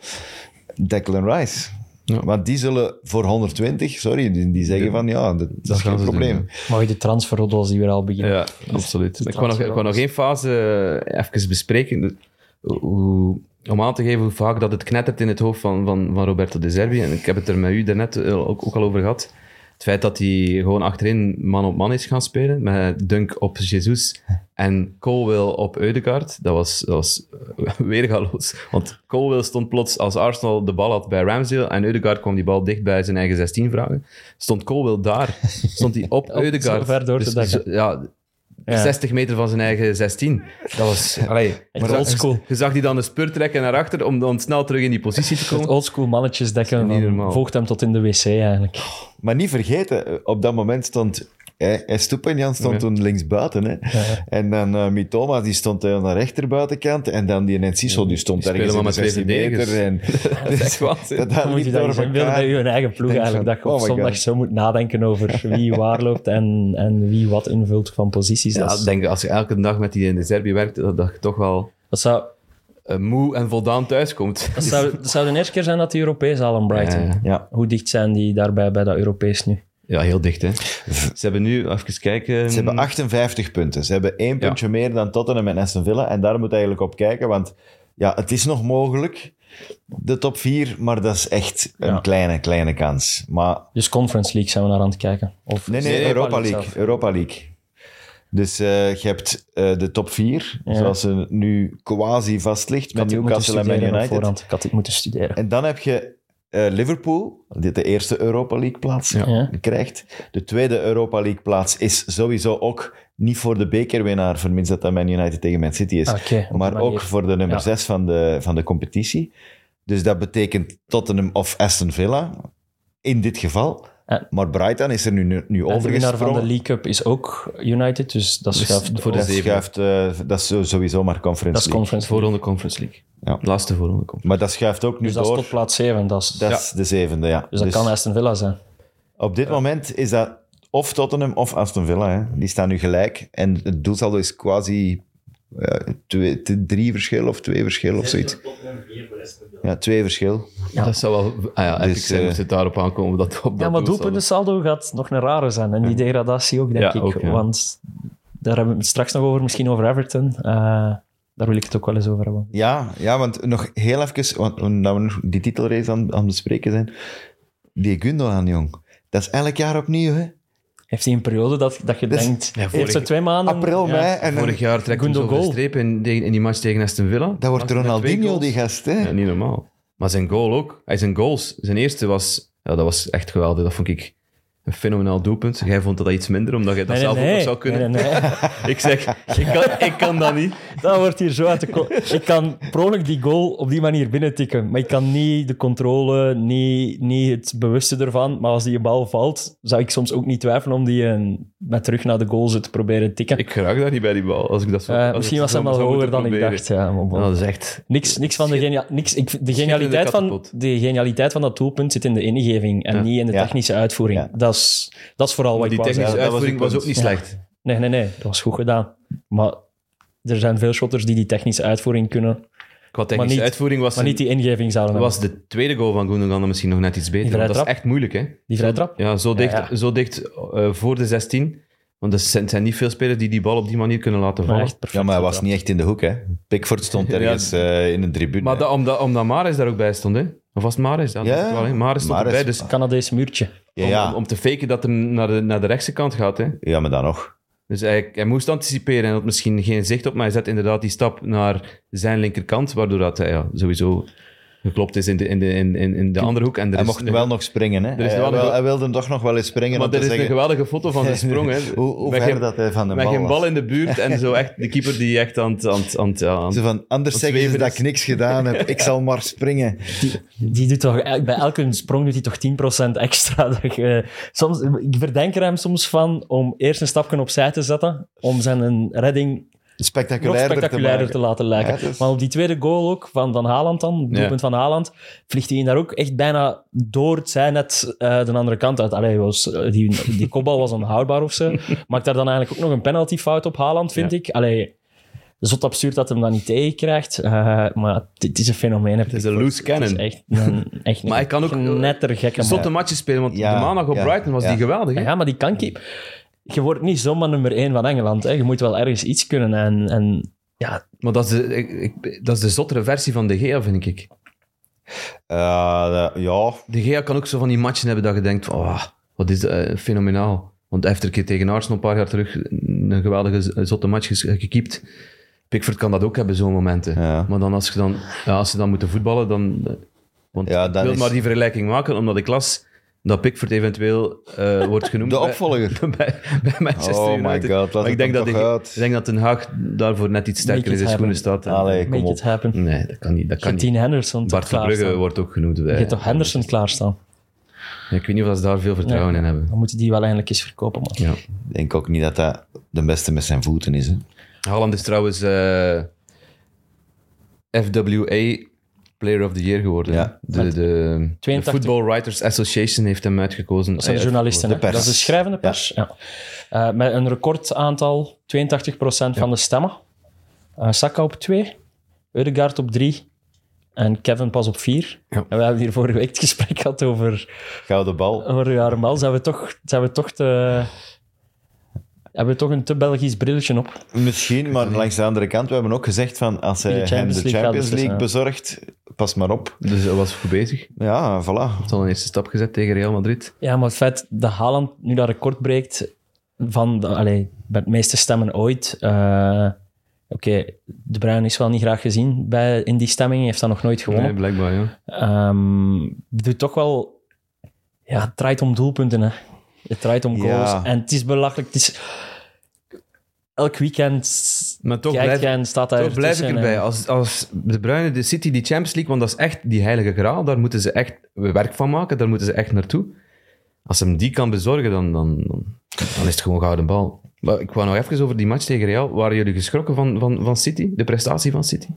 B: Declan Rice.
D: Ja.
B: Want die zullen voor 120, sorry, die, die zeggen van ja, dat, dat is
D: gaan
B: geen
D: ze doen,
B: probleem.
C: Mooi de transferroddels die weer al beginnen.
D: Ja, absoluut. Ik wou nog, ik wou nog één fase eh, even bespreken. De- Hoe, om aan te geven hoe vaak dat het knettert in het hoofd van, van, van Roberto De Zerbi. En ik heb het er met u daarnet eh, ook, ook al over gehad. Het feit dat hij gewoon achterin man op man is gaan spelen, met Dunk op Jesus en Colwell op Eudegaard, dat was, dat was eh, weergaloos. Want Colwell stond plots, als Arsenal de bal had bij Ramsdale en Eudegaard kwam die bal dicht bij zijn eigen 16 vragen, stond Colwell daar. Stond hij op
C: Op-
D: Eudegaard.
C: zo ver door te
D: Dus
C: dekken.
D: zo- ja,
C: Ja.
D: 60 meter van zijn eigen 16. Dat was... Allee,
C: Echt oldschool.
D: je zag die dan de spur trekken naar achter om dan snel terug in die positie te komen.
C: Oldschool mannetjes dekken.
D: niet
C: van
D: normaal.
C: Volgt hem tot in de wc eigenlijk.
B: Maar niet vergeten, eh, op dat moment stond... eh, eh, Stoepanjan stond
D: Ja.
B: toen linksbuiten. Hè. En dan eh Mitoma, die stond eh, aan de rechterbuitenkant. En dan die Enciso, die stond
D: Die
B: ergens in
D: spelen
B: de
D: maar met
B: 16
D: twee
B: meter. En,
D: Dat is echt waanzin.
B: dat dat
C: Dan moet je
B: liep
C: dat
B: door
C: eens inbeelden bij
B: elkaar.
C: je eigen ploeg
B: denk
C: eigenlijk.
B: van,
C: Dat je op
B: oh my
C: zondag
B: God.
C: zo moet nadenken over wie waar loopt en, en wie wat invult van posities.
D: Ja,
C: dat, is-
D: ik denk als je elke dag met die in de Serbië werkt, dat, dat je toch wel
C: dat zou,
D: eh, moe en voldaan thuiskomt.
C: dat, zou, dat zou de eerste keer zijn dat die Europees al aan Brighton.
D: Ja, ja.
B: Ja,
C: Hoe dicht zijn die daarbij bij dat Europees nu?
D: Ja, heel dicht, hè. Ze hebben nu, even kijken...
B: ze hebben 58 punten. Ze hebben één
D: Hmm. Ja.
B: puntje meer dan Tottenham en Aston Villa. En daar moet je eigenlijk op kijken, want ja, het is nog mogelijk, de top 4. Maar dat is echt een
C: Ja.
B: kleine, kleine kans. Maar
C: Dus Conference League zijn we naar aan het kijken. Of
B: Nee, nee,
D: Nee,
B: Europa
C: Europa
B: League.
C: League
B: Europa League. Dus eh, je hebt eh, de top 4,
C: Ja.
B: zoals ze nu quasi vast ligt
C: Ik had
B: met
C: dit moeten
B: Newcastle en Man
C: studeren op
B: United.
C: voorhand. Ik had dit moeten studeren.
B: En dan heb je eh, Liverpool, die de eerste Europa League plaats
C: Ja.
B: krijgt. De tweede Europa League plaats is sowieso ook niet voor de bekerwinnaar, vermits dat dat Man United tegen Man City is.
C: Ah, oké, op die
B: maar
C: manier.
B: ook voor de nummer
C: Ja.
B: 6 van de, van de competitie. Dus dat betekent Tottenham of Aston Villa, in dit geval.
C: En-
B: maar Brighton is er nu, nu
C: En de winnaar van
B: overgesprongen.
C: de League Cup is ook United, dus dat schuift
D: voor de
C: op.
B: Dat
D: zeven.
B: schuift, eh, dat is zo- sowieso maar
C: Dat
B: Conference
C: is
B: League.
C: Conference League.
D: Voorronde Conference League.
B: Ja.
D: Laatste voorronde Conference
B: Maar dat schuift ook nu
C: Dus dat is
B: door.
C: tot plaats 7. Dat is,
B: Dat is de zevende, ja.
C: dus dat kan Aston Villa zijn.
B: op dit moment is dat of Tottenham of Aston Villa. Hè. Die staan nu gelijk. En het doelsaldo is quasi eh, twee, t- drie verschil of twee verschil of zoiets. Ja, twee verschil.
D: League. Dat zou wel... Ah ja, epic
B: Dus,
D: zijn
B: eh,
D: moest het daarop aankomen. Dat, op
C: Ja,
D: dat
C: maar
D: doel
C: doelpunten saldo gaat nog een rare zijn. En die degradatie ook, denk
D: Ja,
C: ik.
D: ook, ja.
C: Want daar hebben we het straks nog over, misschien over Everton. Eh, daar wil ik het ook wel eens over hebben.
B: Ja, ja, want nog heel even, want omdat we nog die titelrace aan aan het bespreken zijn. Die Gundogan, jong. Dat is elk jaar opnieuw, hè.
C: Heeft hij een periode dat, dat je
B: Dus-
C: denkt...
D: Ja, vorig-
C: heeft ze twee maanden...
B: April,
C: ja.
B: mei. En dan-
D: Vorig jaar trekt hij
C: Gundo
D: hem over de
C: goal.
D: streep in, tegen- in die match tegen Aston Villa.
B: dat wordt
D: Maakt hij met twee
B: Ronaldinho,
D: goals.
B: die gast, hè.
D: Ja, niet normaal. Maar zijn goal ook. Hij zijn goals. Zijn eerste was... Ja, dat was echt geweldig. Dat vond ik een fenomenaal doelpunt. Jij vond dat iets minder, omdat jij dat
C: Nee, nee,
D: zelf ook
C: nee.
D: nog zou kunnen.
C: Nee, nee, nee.
D: Ik zeg, ik kan, ik kan dat niet.
C: Dat wordt hier zo uit de... ko- Ik kan per ongeluk die goal op die manier binnentikken, maar ik kan niet de controle, niet, niet het bewuste ervan. Maar als die bal valt, zou ik soms ook niet twijfelen om die eh, met terug naar de goal te proberen tikken.
D: Ik raak daar niet bij die bal. Als ik Oh, dat zo,
C: Eh,
D: als ik
C: misschien
D: zo
C: was hij wel
D: zou moeten
C: hoger dan ik
D: proberen.
C: dacht. Ja, maar bon.
D: Ja, dat is echt...
C: Niks, niks van de, genia niks, ik, vind- de, genialiteit van,
D: katapult.
C: de genialiteit van dat doelpunt zit in de ingeving en
D: Ja.
C: niet in de
B: Ja.
C: technische uitvoering.
B: Ja.
C: Dat, is, dat is vooral wat
D: die
C: ik wou
D: technische
C: zeggen.
B: dat was
D: uitvoering
B: het
D: was, ook niet
C: Ja.
D: slecht.
C: Nee, nee, nee. Dat was goed gedaan. Maar er zijn veel shotters die die technische uitvoering kunnen,
D: Qua
C: Maar
D: technische
C: niet-
D: uitvoering was,
C: maar niet die ingeving zouden hebben.
D: was de tweede goal van Gundogan dan misschien nog net iets beter.
C: Die vrije
D: want dat is
C: trap.
D: echt moeilijk, hè?
C: Die vrije trap?
D: Ja, zo dicht,
C: ja.
D: Zo dicht eh, voor de 16. Want er zijn, zijn niet veel spelers die die bal op die manier kunnen laten vallen.
C: Maar
D: Maar,
C: echt perfect.
B: Ja, maar hij was niet echt in de hoek, hè. Pickford stond ergens eh, in een tribune. hè.
D: dat, omdat, omdat Maris daar ook bij stond, hè? Of was het Maris? Ja,
B: Ja,
D: dat wel, hè. Maris stond
B: Mahrez.
D: erbij. Dus
C: Het Canadese muurtje.
B: ja, ja.
D: Om, om te faken dat hij naar de, naar de rechtse kant gaat, hè?
B: ja, maar dan nog.
D: Dus hij, hij moest anticiperen en had misschien geen zicht op, maar hij zet inderdaad die stap naar zijn linkerkant, waardoor dat hij ja, sowieso geklopt is in de, in de, in, in in de andere hoek. En er
B: Hij
D: is
B: mocht
D: een-
B: wel nog springen, hè.
D: is
B: hij,
D: wel
B: wel-
D: een-
B: hij wilde toch nog wel eens springen
D: Maar
B: om te
D: er is een
B: zeggen
D: geweldige foto van zijn sprong. Hè.
B: hoe, hoe
D: Met
B: ver
D: geen-
B: dat hij van de
D: Met
B: bal
D: geen
B: was.
D: bal in de buurt en zo echt de keeper die echt aan het... Aan het, aan het- ja, aan
B: Zo
D: het-
B: van, anders
D: Ons
B: zeggen ze
D: zweven
B: dat
D: is-
B: ik niks gedaan heb. Ik zal maar springen.
C: Die, die doet toch, el- bij elke sprong doet hij toch 10% extra. Dat je- soms, ik verdenk er hem soms van om eerst een stapje opzij te zetten, om zijn redding nog
B: Spectaculairder,
C: spectaculairder te,
B: te maken.
C: laten lijken.
B: Ja, het is-
C: Maar op die tweede goal ook, van, van Haaland dan, het doelpunt
D: Ja.
C: van Haaland, vliegt hij daar ook echt bijna door het zijnet eh de andere kant uit. Allee, was, eh, die, die kopbal was onhoudbaar of zo. Maakt daar dan eigenlijk ook nog een penaltyfout op Haaland, vind
D: Ja.
C: ik. Allee, zot absurd dat hem dat niet tegenkrijgt. eh maar dit is een fenomeen.
D: Het is een loose
C: Het is
D: cannon.
C: echt een, echt een
D: Maar hij kan ook-
C: netter gekke man.
D: Zotte matjes spelen, want
B: Ja,
D: de maandag op
B: ja,
D: Brighton was
B: ja.
D: die geweldig. Hè?
C: Ja, maar die kan keep. Je wordt niet zomaar nummer één van Engeland. Hè. Je moet wel ergens iets kunnen. En, en ja,
D: Maar dat is, de, ik- ik- dat is de zottere versie van De Gea, vind ik.
B: Eh, ja, Eh,
D: De Gea kan ook zo van die matchen hebben dat je denkt van... ah, Wat is dat, eh, fenomenaal. Want hij heeft er een keer tegen Arsenal een paar jaar terug een geweldige z- zotte match ges- gekiept. Pickford kan dat ook hebben, zo'n momenten.
B: Ja.
D: Maar dan als, je dan, ja, als ze dan moeten voetballen, dan... eh, Want
B: Ja, dan
D: ik wil
B: is-
D: maar die vergelijking maken, omdat ik las dat Pickford eventueel eh, wordt genoemd...
B: De
D: bij-
B: opvolger.
D: bij, bij Manchester
B: Oh my
D: United.
B: God, laat
D: maar
B: het
D: ik denk,
B: dan
D: dat
B: toch
D: de-
B: uit.
D: ik denk dat Den Haag daarvoor net iets sterker
C: Make
D: in
C: it
D: zijn schoenen
C: happen.
D: staat.
B: Allee, kom
C: Make it
B: op.
C: happen.
D: Nee, dat kan niet. Dat
C: Je
D: kan
C: hebt Dean
D: niet.
C: Henderson
D: Bart
C: toch
D: Verbrugge
C: klaarstaan.
D: wordt eh, ook genoemd.
C: Je
D: Bij,
C: hebt toch Henderson klaarstaan?
D: Ik weet niet of ze daar veel vertrouwen
C: Nee.
D: in hebben.
C: Dan moeten die wel eindelijk eens verkopen, man.
D: Ja.
B: Ik denk ook niet dat dat de beste met zijn voeten is. Hè.
D: Haaland is trouwens eh, FWA Player of the Year geworden.
B: Ja.
D: De, de, de
C: 82.
D: Football Writers Association heeft hem uitgekozen.
C: Dat zijn
D: Eh,
C: journalisten, hè?
B: pers.
C: Dat is de schrijvende pers. Ja. Eh, met een record aantal, 82% van de stemmen. Eh Saka op 2, Eudegaard op 3 en Kevin pas op 4.
D: Ja.
C: En we hebben hier vorige week het gesprek gehad over,
B: Gouden bal.
C: over Jarmel. Zijn we toch, zijn we toch te... Hebben we toch een te Belgisch brilletje op?
B: Misschien, maar langs de andere kant, we hebben ook gezegd van als hij
C: de
B: hem
C: Champions
B: de
C: League
B: Champions
C: gaat
B: League
C: beslissen,
B: bezorgt, pas maar op.
D: Dus hij was goed bezig. Hij
B: Ja, voilà.
D: had al een eerste stap gezet tegen Real Madrid.
C: Ja, maar het feit dat Haaland nu dat record breekt van de, allee, met de meeste stemmen ooit. eh, Oké, De Bruyne is wel niet graag gezien bij, in die stemming. Hij heeft dat nog nooit
D: Nee,
C: gewonnen.
D: blijkbaar, ja.
C: Ehm, het doet toch wel... Ja, het draait om doelpunten, hè. Het draait om goals.
B: Ja.
C: En het is belachelijk. Het is... Elk weekend
D: Maar toch
C: kijk
D: blijf-
C: je en staat daar
D: Toch blijf ik
C: ertussen
D: erbij.
C: en-
D: Als, als de Bruyne, de City, die Champions League, want dat is echt die heilige graal, daar moeten ze echt werk van maken, daar moeten ze echt naartoe. Als hem die kan bezorgen, dan, dan, dan, dan is het gewoon gouden bal. Maar ik wou nog even over die match tegen Real. Waren jullie geschrokken van, van, van City, de prestatie van City?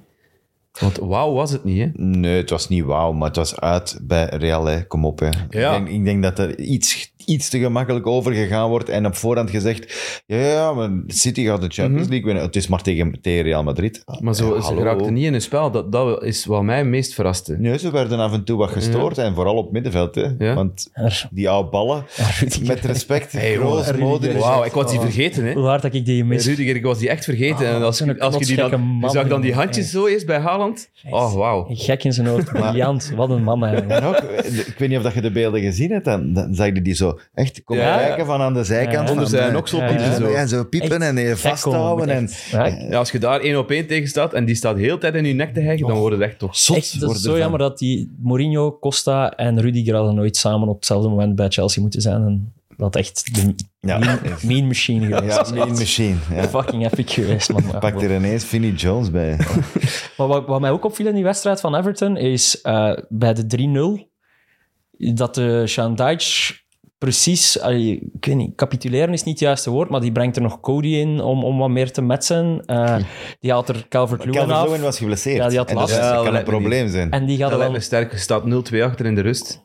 D: Want wauw was het niet, hè?
B: Nee, het was niet wauw, maar het was uit bij Real. Hè. Kom op. Hè.
D: Ja.
B: Ik, denk, ik denk dat er iets, iets te gemakkelijk over gegaan wordt en op voorhand gezegd: ja, ja, maar City gaat de Champions League winnen. Het is maar tegen, tegen Real Madrid.
D: Maar zo,
B: Ja,
D: ze
B: hallo.
D: raakten niet in hun spel. Dat, dat is wat mij het meest verraste.
B: Nee, ze werden af en toe wat gestoord en vooral op middenveld. Hè.
D: Ja.
B: Want
C: Er-
B: die oude ballen,
C: Rudiger.
B: met respect,
D: jongen,
B: Kroos,
D: Rudiger.
B: Modric.
D: Wauw, ik was die vergeten, hè?
C: Hoe hard dat ik die mis.
D: Rudiger, ik was die echt vergeten.
B: Ah,
D: en als,
C: zo'n
D: je- als je die dan,
C: knotsgekke
D: je
C: man,
D: zag dan die
C: jongen.
D: handjes zo eerst bij Haaland. Oh, wauw.
C: Gek in zijn hoofd. Briljant. Wat een man, eigenlijk.
B: En ook, ik weet niet of dat je de beelden gezien hebt, dan, dan zag je die zo echt komen
D: Ja.
B: kijken van aan de zijkant.
C: Ja.
B: van,
D: Onder zijn
B: eh,
D: oksel
B: ja,
D: piepen
B: ja,
D: zo.
B: Ja, zo piepen
C: Echt
B: en eh,
C: gek
B: vasthouden.
C: komen,
B: En,
C: echt. Ja, ik-
D: Ja, als je daar één op één tegen staat en die staat heel de tijd in je nek te hijgen, dan
C: Oh.
D: wordt het echt toch zot.
C: Echt, dat
B: worden
C: is zo
B: van.
C: jammer dat die Mourinho, Costa en Rudiger hadden nooit samen op hetzelfde moment bij Chelsea moeten zijn. En dat echt de
B: ja,
C: mean, mean machine geweest
B: ja,
C: was.
B: mean machine. Ja.
C: Fucking epic geweest, man. Ja,
B: Pak er ineens Vinnie Jones bij.
C: Maar wat, wat mij ook opviel in die wedstrijd van Everton is eh, bij de 3-0 dat de Shandijk precies, allee, ik weet niet, capituleren is niet het juiste woord, maar die brengt er nog Cody in om, om wat meer te metsen. Eh, die haalt er Calvert-Lewin af.
B: Calvert-Lewin was geblesseerd.
C: Ja, die had
B: en dat
C: last.
B: is-
D: Ja,
B: dat kan een
D: lijkt me
B: probleem zijn.
C: En die gaat
D: Dat
C: er
D: lijkt
C: wel
D: me sterk. Je staat 0-2 achter in de rust.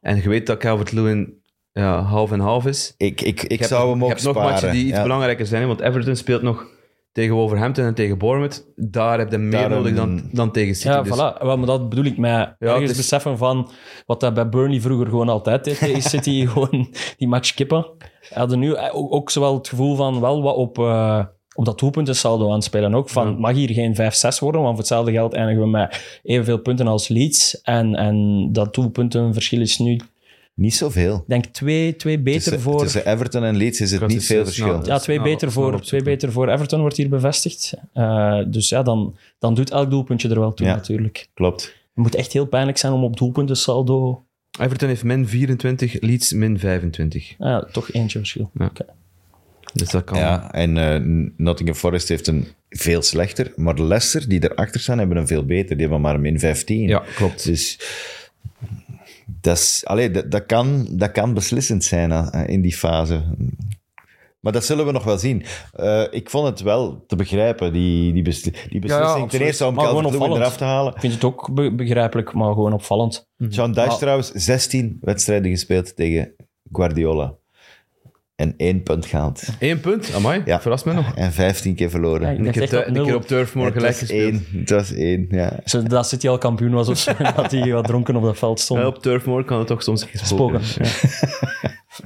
D: En je weet dat Calvert-Lewin ja, half en half is.
B: Ik, ik, ik
D: Je hebt
B: zou
D: nog-
B: hem
D: je
B: ook
D: hebt nog matchen
B: sparen.
D: die iets
B: Ja.
D: belangrijker zijn, hè, want Everton speelt nog tegen Wolverhampton en tegen Bournemouth. Daar heb je meer
B: Daarom-
D: nodig dan, dan tegen City.
C: Ja,
D: dus.
C: voilà. Wel, maar dat bedoel ik met
D: het
C: ergens
D: is-
C: beseffen van wat dat bij Burnley vroeger gewoon altijd deed. hè, Is City gewoon die match kippen. Hadden nu eh, ook, ook zowel het gevoel van wel wat op, eh, op dat doelpuntensaldo aanspelen. Ook van, het mag hier geen 5-6 worden, want voor hetzelfde geld eindigen we met evenveel punten als Leeds. En, en dat doelpuntenverschil is nu, ik
B: Niet zoveel.
C: denk twee, twee beter
B: Tussen,
C: voor...
B: tussen Everton en Leeds is het
D: Dat
B: niet
D: is
B: veel
D: zes,
B: verschil.
D: nou,
C: ja, twee,
D: snel-
C: beter
D: snel
C: voor,
D: opzoeken.
C: twee beter voor Everton wordt hier bevestigd. Eh, dus ja, dan, dan doet elk doelpuntje er wel toe
B: Ja.
C: natuurlijk.
B: Klopt.
C: Het moet echt heel pijnlijk zijn om op doelpunten saldo
D: Everton heeft min 24, Leeds min 25.
C: Ah, ja, toch eentje verschil.
D: Ja.
C: Oké.
D: Dus dat kan.
B: Ja,
C: Oh.
B: en eh, Nottingham Forest heeft een veel slechter, maar Leicester, die erachter staan, hebben een veel beter. Die hebben maar min 15.
D: Ja, klopt.
B: Dus dat, is, allee, dat, dat, kan, dat kan beslissend zijn eh, in die fase. Maar dat zullen we nog wel zien. Eh, ik vond het wel te begrijpen, die, die, besli- die beslissing. Ten
C: absoluut.
B: eerste om
C: Maar gewoon
B: Calvert-Lewin
C: opvallend.
B: eraf te halen.
C: Ik vind het ook be- begrijpelijk, maar gewoon opvallend.
B: Sean Dyche
C: Maar-
B: trouwens, 16 wedstrijden gespeeld tegen Guardiola. En één punt gehaald.
D: Eén punt, amai,
B: Ja.
D: verrast me nog.
B: En 15 keer verloren.
C: Ja,
D: En ik
C: dacht
D: heb
C: echt dat
D: thu- een keer
C: nul-
D: op Turf Moor
B: het
D: gelijk
B: was
D: gespeeld.
B: één. Het was één, ja.
C: Dat City al kampioen was of zo, en dat hij wat dronken op dat veld stond.
D: Ja, op Turf Moor kan het toch soms gesproken.
C: Spoken.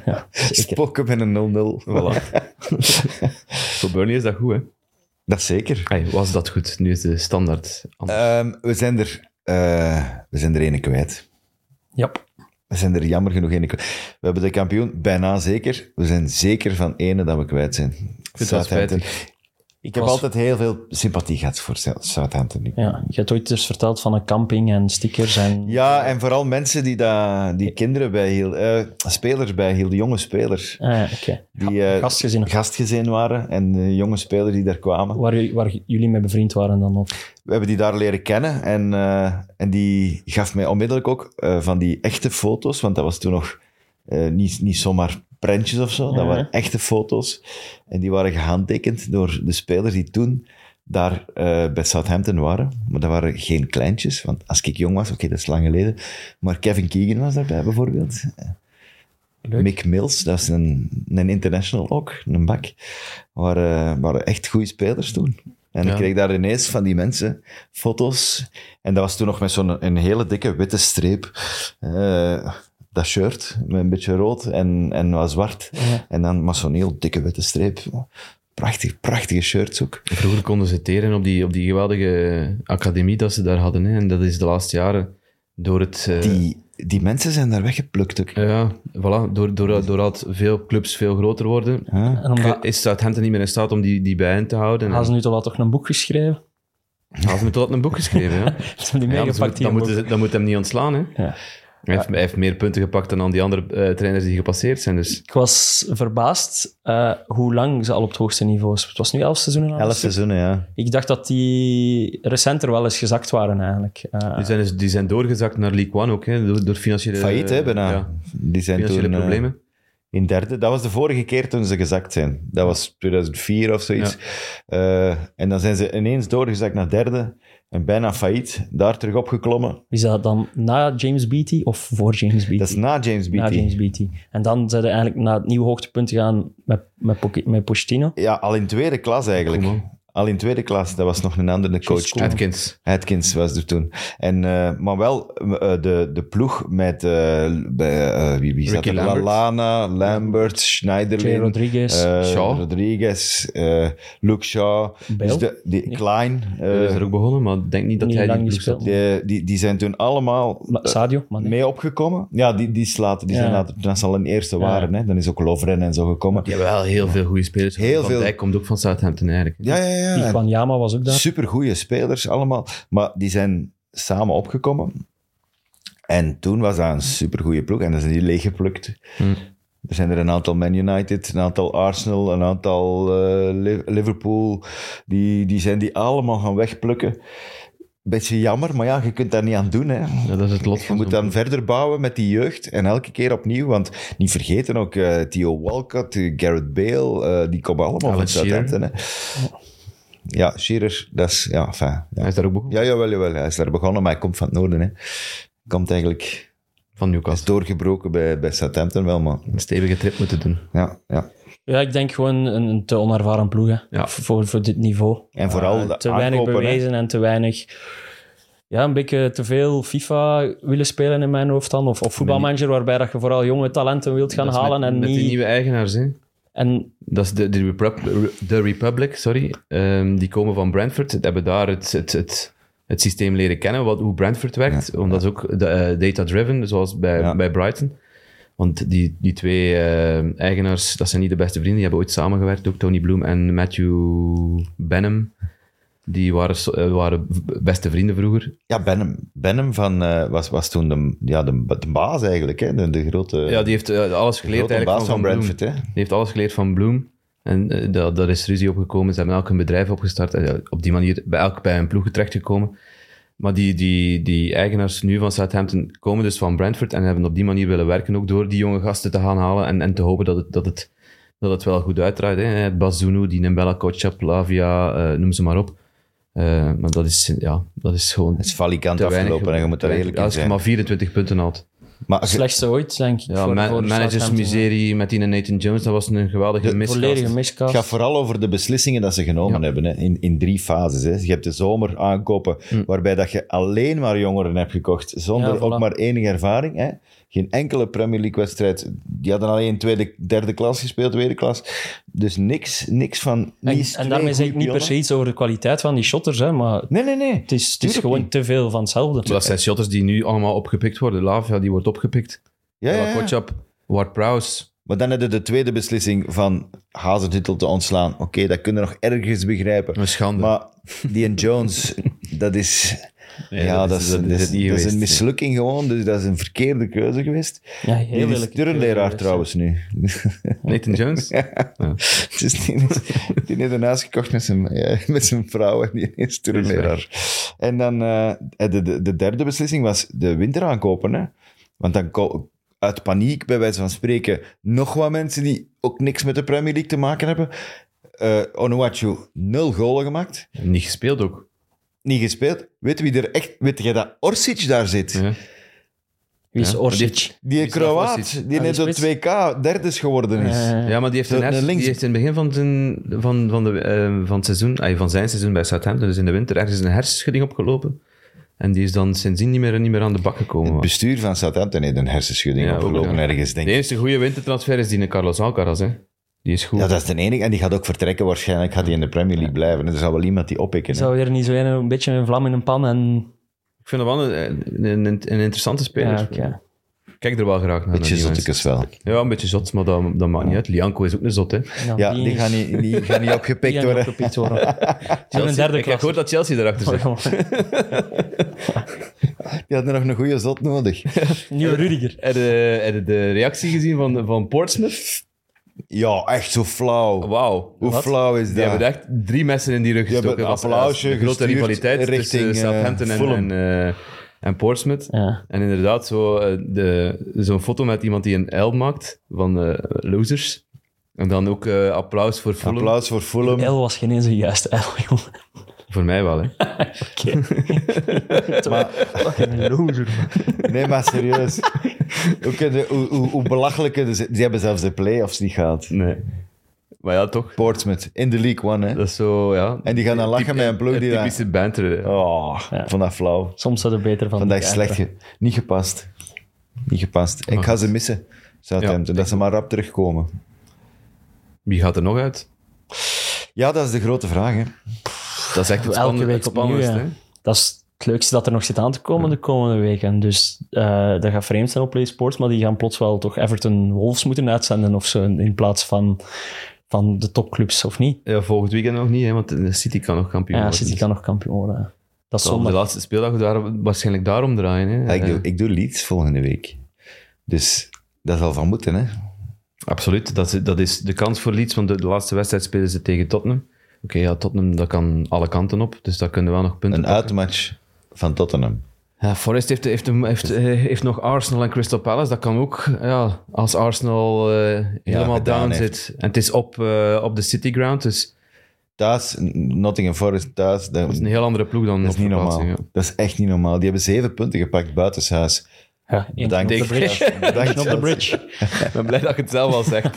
C: Ja. ja, zeker.
B: Spokken met een 0-0. Voilà.
D: Voor Burnley is dat goed, hè?
B: Dat is zeker.
D: Hey, was dat goed? Nu is de
B: Eh.
D: standaard. anders.
B: Ehm, we, zijn er, eh, we zijn er ene kwijt.
C: Ja.
B: We zijn er jammer genoeg één. We hebben de kampioen bijna zeker. We zijn zeker van ene dat we kwijt zijn.
D: het wel
B: Ik heb
C: was-
B: altijd heel veel sympathie gehad voor Southampton nu.
C: Ja, je hebt ooit dus verteld van een camping en stickers en...
B: Ja, en vooral mensen die, daar die kinderen bijhielden, eh, spelers bijhielden, jonge spelers.
C: Ah, ja, oké.
B: Die eh,
C: Gastgezinnen.
B: gastgezin waren en eh, jonge spelers die daar kwamen.
C: Waar, jullie- waar jullie mee bevriend waren dan ook.
B: We hebben die daar leren kennen en, eh, en die gaf mij onmiddellijk ook eh, van die echte foto's, want dat was toen nog eh, niet, niet zomaar prentjes of zo, dat
C: Ja.
B: waren echte foto's. En die waren gehandtekend door de spelers die toen daar eh, bij Southampton waren. Maar dat waren geen kleintjes, want als ik jong was, oké, dat is lang geleden, maar Kevin Keegan was daarbij bijvoorbeeld. Mick Mills, dat is een, een international ook, een bak. Waren, waren echt goede spelers toen. En
D: Ja.
B: ik kreeg daar ineens van die mensen foto's. En dat was toen nog met zo'n een hele dikke witte streep. eh, dat shirt, met een beetje rood en, en wat zwart. En dan maar zo'n heel dikke witte streep. Prachtig, prachtige shirts ook.
D: Vroeger konden ze teren op die, op die geweldige academie dat ze daar hadden. Hè. En dat is de laatste jaren door het... eh,
B: Die, die mensen zijn daar weggeplukt ook.
D: Ja, voilà. Door, door, doordat veel clubs veel groter worden,
B: Huh?
C: En omdat,
D: is Southampton niet meer in staat om die, die bijeen te houden.
C: hadden
D: En
C: ze nu toch wel toch een boek geschreven?
D: Hazen heeft tot een boek geschreven, ja.
C: Ze hebben die
D: Ja, anders
C: meegepakt
D: moet-
C: hier
D: dan,
C: een
D: moet,
C: boek.
D: ze- dan moet hem niet ontslaan, hè.
C: Ja.
D: Hij, heeft, hij heeft meer punten gepakt dan al die andere eh, trainers die gepasseerd zijn. Dus
C: Ik was verbaasd eh, hoe lang ze al op het hoogste niveau is. Het was nu elf seizoenen. aan
B: Elf
C: een stuk.
B: seizoenen, ja.
C: Ik dacht dat die recenter wel eens gezakt waren eigenlijk. Eh,
D: die, zijn, dus- die zijn doorgezakt naar League One ook, hè, door, door financiële...
B: Failliet, hè, bijna.
D: Eh, ja,
B: Die zijn toen...
D: financiële
B: eh,
D: problemen.
B: In derde, dat was de vorige keer toen ze gezakt zijn. Dat was 2004 of zoiets. Eh, en dan zijn ze ineens doorgezakt naar derde en bijna failliet. Daar terug opgeklommen.
C: Is dat dan na James Beattie of voor James Beattie?
B: Dat is na James
C: na
B: Beattie.
C: James Beattie. En dan zijn ze eigenlijk naar het nieuwe hoogtepunt gegaan met, met, Poche- met Pochettino.
B: Ja, al in tweede klas eigenlijk.
D: Koeman.
B: Al in tweede klas, dat was nog een andere coach.
C: Koeman.
B: toen.
D: Atkins.
B: Atkins was er toen. En, eh, maar wel eh, de, de ploeg met eh, bij, eh, wie, wie zat
D: Ricky
B: er?
D: Lambert.
B: Lallana, Lambert,
C: Jay
B: Schneiderlin.
C: Rodriguez.
B: eh,
D: Shaw.
B: Rodriguez, eh, Luke Shaw. Dus
C: Bell?
B: de, die, Klein.
D: Hij is
B: eh,
D: er ook begonnen, maar ik denk niet dat
C: Niet
D: hij die
C: lang
D: ploeg
C: gespeeld.
D: zat.
B: Die, die, die zijn toen allemaal
C: Ma- Sadio, maar nee.
B: mee opgekomen. Ja, die, die, is later, die zijn
C: Ja.
B: later, dat ze al een eerste waren. Hè? Dan is ook Lovren en zo gekomen.
D: Die hebben wel heel veel goede spelers.
B: Heel
D: Van
B: veel.
D: Dijk komt ook van Southampton eigenlijk.
B: Ja, ja,
C: Die
B: ja.
C: van Yama was ook daar.
B: Supergoeie spelers allemaal. Maar die zijn samen opgekomen. En toen was dat een supergoeie ploeg. En dan zijn die leeggeplukt.
D: Hmm.
B: Er zijn er een aantal Man United, een aantal Arsenal, een aantal eh, Liv- Liverpool. Die, die zijn die allemaal gaan wegplukken. Beetje jammer, maar ja, je kunt daar niet aan doen. Hè.
D: Ja, dat is het lot
B: Je
D: van
B: moet
D: zo'n
B: dan verder bouwen met die jeugd en elke keer opnieuw. Want niet vergeten ook eh, Theo Walcott, eh, Gareth Bale, eh, die komen allemaal van
D: Alan
B: Southampton. hè. Ja, Shearer, dat is... Ja, enfin,
D: Hij
B: ja.
D: is daar ook begonnen.
B: ja, jawel, jawel. Hij is daar begonnen, maar hij komt van het noorden. Hè. Komt eigenlijk...
D: Van
B: Is
D: Newcastle.
B: doorgebroken bij, bij Southampton wel, maar...
D: Een stevige trip moeten doen.
B: Ja, ja.
C: Ja, ik denk gewoon een, een te onervaren ploeg hè,
D: Ja.
C: voor, voor dit niveau.
D: Ah,
B: En vooral
C: Eh,
B: de
C: te weinig
B: aankopen, hè.
C: bewezen en te weinig. Ja, een beetje te veel FIFA willen spelen in mijn hoofd dan. Of, of voetbalmanager, waarbij dat je vooral jonge talenten wilt gaan
D: Dat is
C: halen
D: met,
C: en
D: met
C: niet.
D: die nieuwe eigenaars, hè.
C: En
D: Dat is de, de, Repub- de Republic, sorry. Ehm, die komen van Brentford. Ze hebben daar het, het, het, het systeem leren kennen, wat, hoe Brentford werkt. Omdat ze ook de, eh, data-driven, zoals bij,
B: Ja.
D: bij Brighton. Want die, die twee ehm, eigenaars, dat zijn niet de beste vrienden. Die hebben ooit samengewerkt, ook Tony Bloom en Matthew Benham. Die waren, so- eh, waren v- beste vrienden vroeger.
B: Ja, Benham, Benham van, eh, was, was toen de, ja, de, de baas eigenlijk, hè. De, de grote,
D: Ja, die heeft eh, alles
B: de
D: geleerd
B: grote
D: eigenlijk
B: baas van,
D: van, van Bloom.
B: Brentford, hè.
D: Die heeft alles geleerd van Bloem. En eh, daar, daar is ruzie opgekomen. Ze hebben elk een bedrijf opgestart. En ja, op die manier bij elk bij een ploeg terechtgekomen. Maar die, die, die eigenaars nu van Southampton komen dus van Brentford. En hebben op die manier willen werken. Ook door die jonge gasten te gaan halen. En, en te hopen dat het, dat het, dat het wel goed uitdraait. Hè. Bazunu, die Nembella Kotschap, Lavia, eh, noem ze maar op. Eh, maar dat is, ja, dat is gewoon
B: Het is valikant
D: te weinig.
B: afgelopen en je moet daar eerlijk in
D: Als je
B: zijn.
D: maar 24 punten haalt.
B: Maar ge-
C: slechtste ooit, denk ik.
D: Ja,
C: voor,
D: ma-
C: voor
D: managers
C: Southampton.
D: miserie met die Nathan Jones. Dat was een geweldige miscast.
C: Volledige
B: Het
C: miscast.
B: gaat vooral over de beslissingen dat ze genomen hebben. Hè. In, in drie fases. Hè. Je hebt de zomer aankopen, waarbij dat je alleen maar jongeren hebt gekocht, zonder
C: Hm. Ja, voilà.
B: ook maar enige ervaring. Hè. Geen enkele Premier League-wedstrijd. Die hadden alleen tweede, derde klas gespeeld, tweede klas. Dus niks, niks van...
C: En,
B: niet
C: en
B: twee
C: daarmee zeg ik
B: goeie
C: niet per se iets over de kwaliteit van die shotters, hè, maar
B: pionnen. Nee, nee, nee.
C: het is, het is
B: Tuurlijk
C: gewoon
B: niet.
C: te veel van hetzelfde.
D: Maar dat zijn shotters die nu allemaal opgepikt worden. Lavia, die wordt opgepikt.
B: Ja, ja,
D: Bella
B: ja.
D: Kotschap, Ward-Prowse.
B: Maar dan hadden de tweede beslissing van Hazentitel te ontslaan. Oké, dat kunnen we nog ergens begrijpen.
D: Een schande.
B: Maar die en Jones, dat is...
D: Nee,
B: ja, dat is, dat is, dat
D: het niet
B: is
D: geweest,
B: een
D: nee.
B: mislukking gewoon. Dus dat is een verkeerde keuze geweest.
C: Ja, heel
B: die is
C: lelijk.
B: turnleraar trouwens nu.
D: Nathan Jones?
B: Het is die, is- die heeft een huis gekocht met zijn, ja, met zijn vrouw en die is turnleraar. En dan eh, de, de, de derde beslissing was de winter aankopen. Hè? Want dan ko- uit paniek, bij wijze van spreken, nog wat mensen die ook niks met de Premier League te maken hebben. Eh Onuachu, nul golen gemaakt.
D: Niet gespeeld ook.
B: Niet gespeeld. Weet wie er echt... Weet jij dat Orsic daar zit?
D: Ja.
C: Wie is
D: Ja.
C: Orsic?
B: Die
D: is
B: Kroaat,
D: Orsic.
B: die
C: Ah,
B: net
C: die
B: op
C: spits.
B: 2K derde is geworden is.
C: Eh,
D: Ja, maar die heeft,
B: De-
D: een
B: de
D: hersen-
B: links-
D: die heeft in het begin van zijn, van, van, de, eh, van, het seizoen, ay, van zijn seizoen bij Southampton, dus in de winter, ergens een hersenschudding opgelopen. En die is dan sindsdien niet meer, niet meer aan de bak gekomen.
B: Het
D: Maar-
B: bestuur van Southampton heeft een hersenschudding
D: Ja, ook,
B: opgelopen
D: ja.
B: ergens, denk
D: De
B: ik.
D: enige goede wintertransfer is die in Carlos Alcaraz. Hè. Die is goed.
B: Ja, dat is de enige. En die gaat ook vertrekken waarschijnlijk. Gaat hij in de Premier League blijven. Er zal wel iemand die oppikken.
C: Ik
B: hè.
C: zou weer niet zo een, een beetje een vlam in een pan en...
D: Ik vind hem wel een, een, een- een interessante speler.
C: Ja, oké.
D: Ik Kijk er wel graag naar.
B: Beetje
D: naar die
B: zottekes wel.
D: mensen. Ja, een beetje zot, maar dat, dat maakt niet uit. Lianco is ook een zot. Hè.
C: Nou,
B: Ja, die
C: is-
B: gaan niet, die gaan niet
C: die
B: opgepikt
C: gaan
B: worden.
C: opgepikt worden. Die een derde
D: ik heb gehoord
C: klasse.
D: dat Chelsea erachter
B: Oh,
D: zit.
B: Die hadden nog een goede zot nodig.
C: Nieuwe Rudiger.
D: Heb je heb je de reactie gezien van, van Portsmouth?
B: Ja, echt zo flauw.
D: Wauw.
B: Hoe
D: Wat?
B: flauw is
D: Die hebben
B: dat?
D: echt drie messen in die rug
B: Die hebben
D: gestoken.
B: een
D: Dat was
B: applausje
D: de grote
B: gestuurd
D: rivaliteit
B: richting,
D: tussen
B: eh,
D: Southampton en,
B: Fulham.
D: en, eh, en Portsmouth.
C: Ja.
D: En inderdaad, zo, eh, de- zo'n foto met iemand die een L maakt van eh, losers. En dan ook eh, applaus voor Fulham.
B: Applaus voor Fulham.
C: L was geen eens de juiste L, jongen.
D: Voor mij wel, hè.
C: Oké. Toch een loser, man.
B: Nee, maar serieus. Hoe, kunnen- hoe, hoe, hoe belachelijk kunnen ze... Die hebben zelfs de play-offs niet gehad.
D: Nee. Maar ja, toch.
B: Portsmouth, in de League One, hè.
D: Dat is zo, ja.
B: En die gaan dan lachen met een ploeg die... daar-
D: Typische banter.
B: Oh,
C: Ja.
B: vond dat flauw.
C: Soms zou er beter van
B: Vandaag
C: die
B: slecht.
C: uiteraard.
B: ge- Niet gepast. Niet gepast. Ik ga ze missen, Southampton. dat ze maar rap terugkomen.
D: Wie gaat er nog uit?
B: Ja, dat is de grote vraag. Hè.
D: Dat is echt het,
C: Elke
D: span-
C: week
D: het
C: opnieuw,
D: spannendste,
C: ja.
D: hè.
C: Dat is het leukste dat er nog zit aan te komen de komende weken. Dus eh, dat gaat vreemd zijn op Play Sports, maar die gaan plots wel toch Everton Wolves moeten uitzenden of zo, in plaats van, van de topclubs, of niet?
D: Ja, volgend weekend nog niet, hè, want de City kan nog kampioen
C: Ja,
D: worden.
C: City kan nog kampioen worden. Dat is
D: Dus op de
C: zondag.
D: laatste speeldag daar, waarschijnlijk daarom draaien. Hè.
B: Ja, ik, doe,
D: Eh,
B: ik doe Leeds volgende week. Dus dat zal van moeten. Hè.
D: Absoluut, dat is, dat is de kans voor Leeds, want de, de laatste wedstrijd spelen ze tegen Tottenham. Oké, ja, Tottenham dat kan alle kanten op, dus daar kunnen we wel nog punten
B: Een uitmatch van Tottenham.
D: Ja, Forest heeft, heeft, heeft, eh, heeft nog Arsenal en Crystal Palace. Dat kan ook ja, als Arsenal eh, helemaal
B: gedaan
D: down
B: heeft.
D: zit. En het is op, eh, op de City Ground, dus
B: Thuis, Nottingham Forest thuis. Dat,
D: dat is een heel andere ploeg dan
B: dat
D: op
B: is niet normaal.
D: verplaatsing,
B: Dat is echt niet normaal. Die hebben zeven punten gepakt buitenshuis.
C: Ja, één
B: Bedankt.
C: op de bridge.
B: Bedankt.
C: Op de bridge.
D: ja. Ik ben blij dat je het zelf al zegt.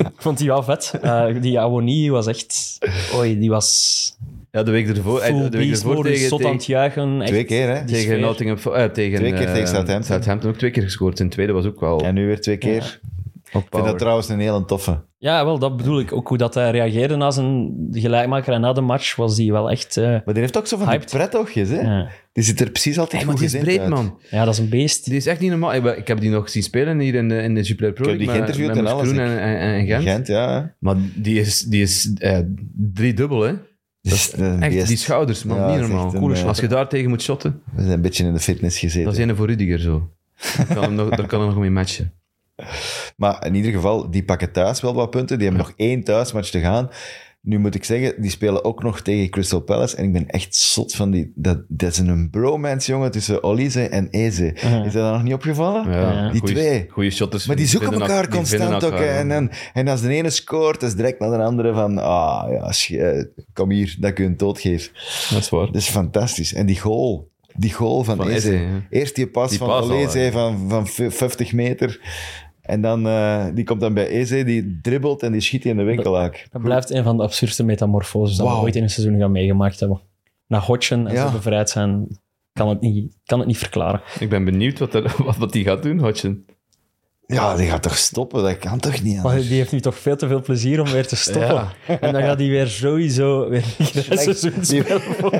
C: Ik vond die wel vet. Eh, die Awoni was echt... Oei, die was
D: ja, de week ervoor, eh,
C: full
D: de week
C: beast
D: ervoor
C: mode,
D: tegen,
C: zot aan
D: tegen,
C: het juichen. Echt.
B: Twee keer, hè?
C: Die
D: tegen
C: sfeer.
D: Nottingham... Fo- eh, tegen,
B: Twee keer
D: eh,
B: tegen Southampton.
D: Southampton ook twee keer gescoord. In de tweede was ook wel
B: En nu weer twee keer.
D: op
B: Ik vind
D: power.
B: dat trouwens een hele toffe.
C: Ja, wel, dat bedoel ik. Ook hoe dat hij reageerde na zijn gelijkmaker en na de match was die wel echt... eh,
B: Maar die heeft ook zo van die
C: Hyped.
B: prettoogjes, hè?
C: ja.
B: Die zit er precies altijd
D: Hey, maar
B: goed
D: die is
B: gezind
D: breed,
B: uit.
D: man.
C: ja, dat is een beest.
D: Die is echt niet normaal. Ik, ben- ik heb die nog zien spelen hier in de, in de Jupiler Pro
B: Ik heb die
D: League met-
B: geïnterviewd
D: met
B: en alles,
D: Moes Kroen en, en, en Gent.
B: Gent, ja.
D: Maar die is, die is eh, driedubbel, hè.
B: Dat is, dat is een
D: Echt,
B: beest.
D: die schouders, man.
B: Ja,
D: niet
B: dat is
D: normaal.
B: echt een,
D: Coole
B: eh,
D: shot. Als je daar tegen moet shotten,
B: We zijn een beetje in de fitness gezeten.
D: dat is een voor Rudiger zo. Daar kan hem nog, daar kan hem nog mee matchen.
B: Maar in ieder geval, die pakken thuis wel wat punten. Die hebben nog één thuismatch te gaan. Nu moet ik zeggen, die spelen ook nog tegen Crystal Palace. En ik ben echt zot van die... Dat, dat is een bromance, jongen, tussen Olise en Eze. Is dat dan nog niet opgevallen?
D: Ja,
B: Die
D: goeie-
B: twee.
D: Goeie shotters.
B: Maar die zoeken
D: vinden
B: elkaar
D: die vinden
B: constant ook.
D: elkaar,
B: hè. en,
D: ja.
B: dan, en als de ene scoort, is direct naar de andere van... Ah, ja, sch- eh, kom hier, dat ik je een dood geef.
D: Dat is waar.
B: Dat is fantastisch. En die goal. Die goal van,
D: Van
B: Eze.
D: Eze, ja.
B: Eerst die pas
D: Die
B: van
D: pas al,
B: Oleze
D: ja.
B: van, van v- 50 meter. En dan, eh, die komt dan bij Eze, die dribbelt en die schiet die in de winkelhaak.
C: Dat blijft een van de absurdste metamorfoses dat we
B: Wauw.
C: ooit in een seizoen gaan meegemaakt hebben. Na hotchen en
B: Ja.
C: zo bevrijd zijn, kan het niet, kan het niet verklaren.
D: Ik ben benieuwd wat, er, wat, wat die gaat doen, Hodgson.
B: Ja, die gaat toch stoppen? Dat kan toch niet
C: Maar
B: anders?
C: die heeft nu toch veel te veel plezier om weer te stoppen. En dan gaat hij weer sowieso weer een seizoen
B: Die-
C: spelen. voor-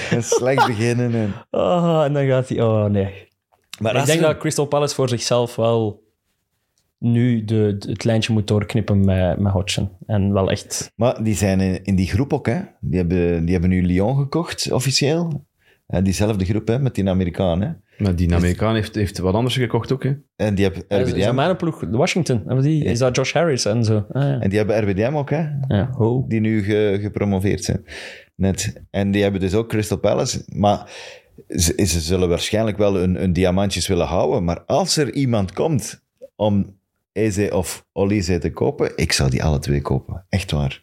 B: en slecht beginnen. En...
C: Ah, en dan gaat hij... Oh, nee.
B: Maar
C: Maar ik
B: als
C: denk
B: je-
C: dat Crystal Palace voor zichzelf wel nu de, de- het lijntje moet doorknippen met, met Hodgson. En wel echt...
B: Maar die zijn in, in die groep ook, hè. Die hebben, die hebben nu Lyon gekocht, officieel. Eh, diezelfde groep, hè, met die Amerikaan, hè.
D: Maar die Amerikaan heeft, heeft wat anders gekocht ook, hè.
B: En die hebben
C: Is, is dat
B: RWDM,
C: mijn ploeg? Washington? Hebben die- Is dat Josh Harris en zo? Ah, ja.
B: en die hebben RWDM ook, hè.
C: Ja, ho.
B: die nu ge- gepromoveerd zijn. Net. En die hebben dus ook Crystal Palace. Maar ze, ze zullen waarschijnlijk wel hun, hun diamantjes willen houden. Maar als er iemand komt om Eze of Olise te kopen, ik zou die alle twee kopen. Echt waar.